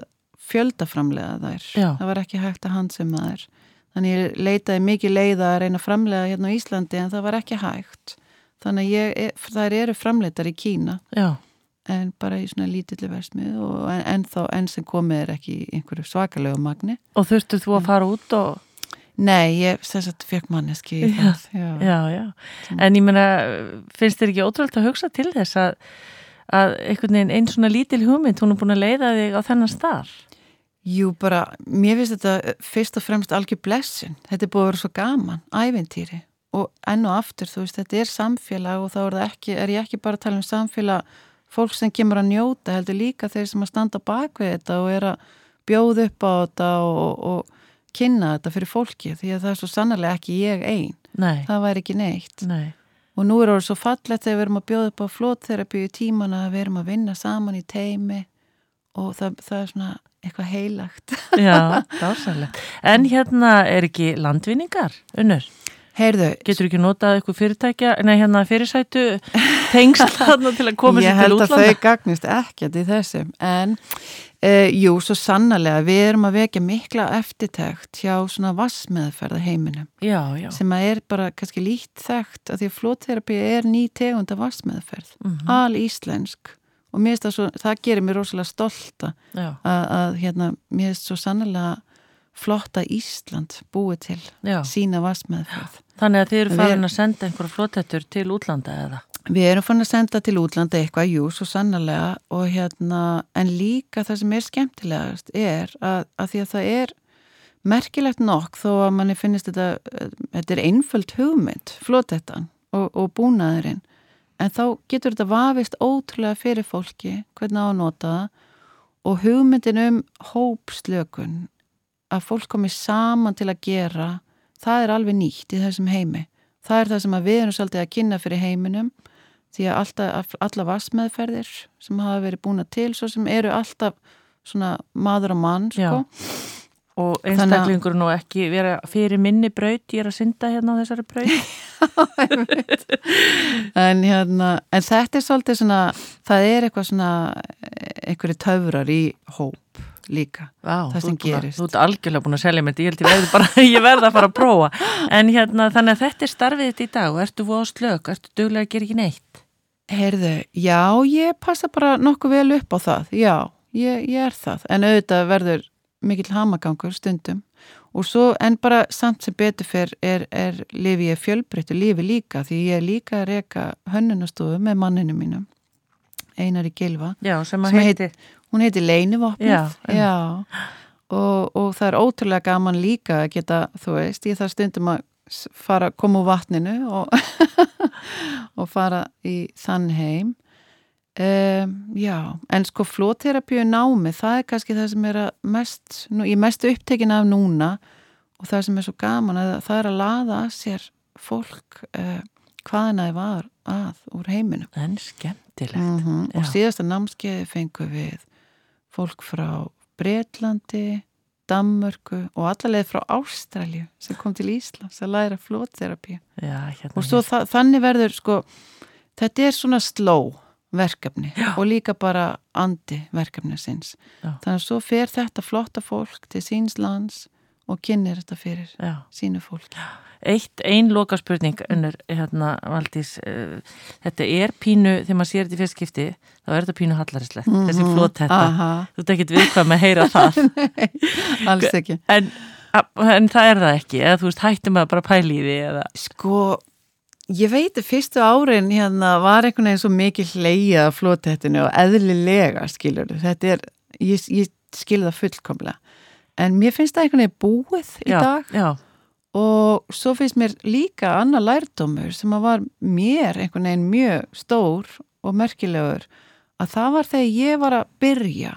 fjöldaframlega þær. Já. Það var ekki hægt að handsema þær. Þannig ég leitaði mikið leiða að reyna að framlega hérna á Íslandi en það var ekki hægt. Þannig að ég, e, þær eru framleitar í Kína Já, en bara í svona lítilli versmið og en, en þá enn sem komið er ekki í einhverju svakalegu magni. og þurftu þú Mm. að fara út og... Nei, ég sem sagt fekk manneski í Já. það. Já. Já, já. En ég meina, finnst þér ekki ótrúlega að hugsa til þess að, að einhvern veginn einn svona lítil hugmynd, hún er búin að leiða þig á þennan starf? Jú, bara, mér finnst þetta eh, fyrst og fremst algjör blessun. Þetta er búið að vera svo gaman, ævintýri. Og enn og aftur, þú veist, þetta er samfélag og þá er, það ekki, er ég ekki bara að tala um samfélag fólk sem kemur að njóta, heldur líka þeir sem að standa á bak við þetta og er að bjóða upp á þetta og, og kynna þetta fyrir fólki því að það er svo sannarlega ekki ég einn. Nei, Það væri ekki neitt. nei. Og nú er orðið svo fallegt þegar við erum að bjóða upp á flótterapi í tíman að við erum að vinna saman í teimi og það, það er svona eitthvað heilagt. Já, dásalega. En hérna er ekki landvinningar, unnur? Heyrðu, Getur ekki notað eitthvað fyrirtækja, nei hérna fyrirsætu tengsl þarna til að koma sér ég til held að útlanda? þau gagnist ekkert í þessu en uh, jú, svo sannarlega við erum að vekja mikla eftirtækt hjá svona vassmeðferða heiminum Já, já, sem að er bara kannski líkt þekkt að því að flótterapi er ný tegund af vassmeðferð Mhm. al íslensk og mér finnst það svo, það gerir mér rosalega stolta já, að, að hérna, mér finnst svo sannarlega flotta Ísland búið til já. sína vassmeðferð Þannig að þið eru Við- farin að senda einhverja flótettur til útlanda eða? Við erum fann að senda til útlanda eitthvað, jú, svo sannarlega og hérna, en líka það sem er skemmtilegast er að, að því að það er merkilegt nokk þó að manni finnist þetta, eh, þetta er einföld hugmynd, flotettan og, og búnaðurinn, en þá getur þetta vafist ótrúlega fyrir fólki hvernig á að nota það og hugmyndin um hópslökun að fólk komi saman til að gera, það er alveg nýtt í þessum heimi. Það er það sem að við erum svolítið að kynna fyrir heiminum því að alltaf, alla vassmeðferðir sem hafa verið búna til svo sem eru alltaf svona maður og mann sko. og Þannig að- einstaklingur nú ekki vera fyrir minni braut, ég er að synda hérna á þessari braut en, hérna, en þetta er svolítið svona það er eitthvað svona einhverju töfrar í hóp líka Vá, Það þú sem ert búin að- gerist. Þú ert algjörlega búin að selja mér þetta, ég held ég verði bara, ég verði að fara að prófa En hérna, þannig að þetta er starfið þetta í dag og ertu voða slök, ertu duglega að gera ekki neitt Heyrðu, já, ég passa bara nokkuð vel upp á það, já, ég, ég er það, en auðvitað verður mikill hamagangur stundum og svo, en bara samt sem betur fyrr er, er lifi ég fjölbreyttu lífi líka því ég er líka að reka hönnunastofu með manninu mínum, Einari Gilva, Já, sem að Sem heiti hún heiti Leinivopnið, Já, einmitt. og, og það er ótrúlega gaman líka að geta, þú veist, ég þarf stundum að s- fara, koma úr vatninu og, og fara í þann heim. Um, já, en sko flóterapíu námi, það er kannski það sem er að mest, nú, ég er mest upptekin af núna og það sem er svo gaman að það er að laða að sér fólk uh, hvaðina þið var að úr heiminum. En skemmtilegt -hmm. og Já. síðasta námskeiði fengum við fólk frá Bretlandi, Danmörku og allalegð frá Ástralju sem kom til Íslands að læra flótterapíu Já, hérna og svo þa þannig verður sko, þetta er svona sló verkefni og líka bara andi verkefni sinns Já. þannig að svo fer þetta flotta fólk til síns lands og kynir þetta fyrir Já. sínu fólki Eitt, ein loka spurning önnur, hérna, Valdís eh, þetta er pínu, þegar maður sér þetta í fyrstskipti þá er þetta pínu hallarislegt þessi flót þetta, Mhm. Aha, þú ert ekkit viðkvæm að heyra það alls ekki en, en það er það ekki eða þú veist, hættum að bara pæli í því eða, Sko, ég veit að fyrstu árin hérna var einhvern veginn svo mikið hleyja af flótettinu og eðlilega skilur þetta er, ég, ég skilur það fullkomlega en mér finnst það einhvern veginn búið í já, dag já, og svo finnst mér líka annar lærdómur sem að var mér einhvern veginn mjög stór og merkilegur að það var þegar ég var að byrja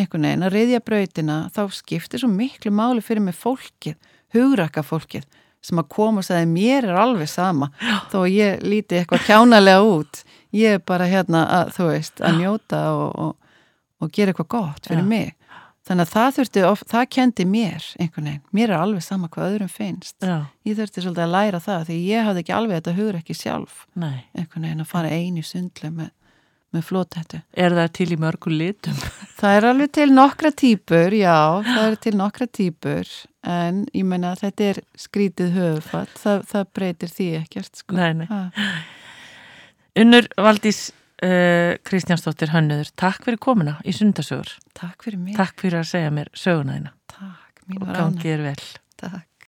einhvern veginn að reyðja brautina þá skiptir svo miklu máli fyrir mig fólkið, hugrakka fólkið sem að koma og segja mér er alveg sama þó að ég líti eitthvað kjánalega út ég er bara hérna að, þú veist, að njóta og, og, og gera eitthvað gott fyrir Já. mig þannig að það þurfti, of, það kendi mér einhvern veginn, mér er alveg sama hvað öðrum finnst já, ég þurfti svolítið að læra það því ég hafði ekki alveg þetta hugur ekki sjálf nei einhvern veginn að Mm. fara einu sundlu með, með flótættu er það til í mörgu litum Það er alveg til nokkra típur, já, það er til nokkra típur, en ég menna að þetta er skrítið höfufatt, það, það breytir því ekkert, sko. nei, nei. Ha, Unnur Valdís uh, Kristjánsdóttir Hönnöður, takk fyrir komuna í sundasögur, takk fyrir mig. takk fyrir að segja mér söguna þína Takk, og mín var ánæg. gangið er vel Takk.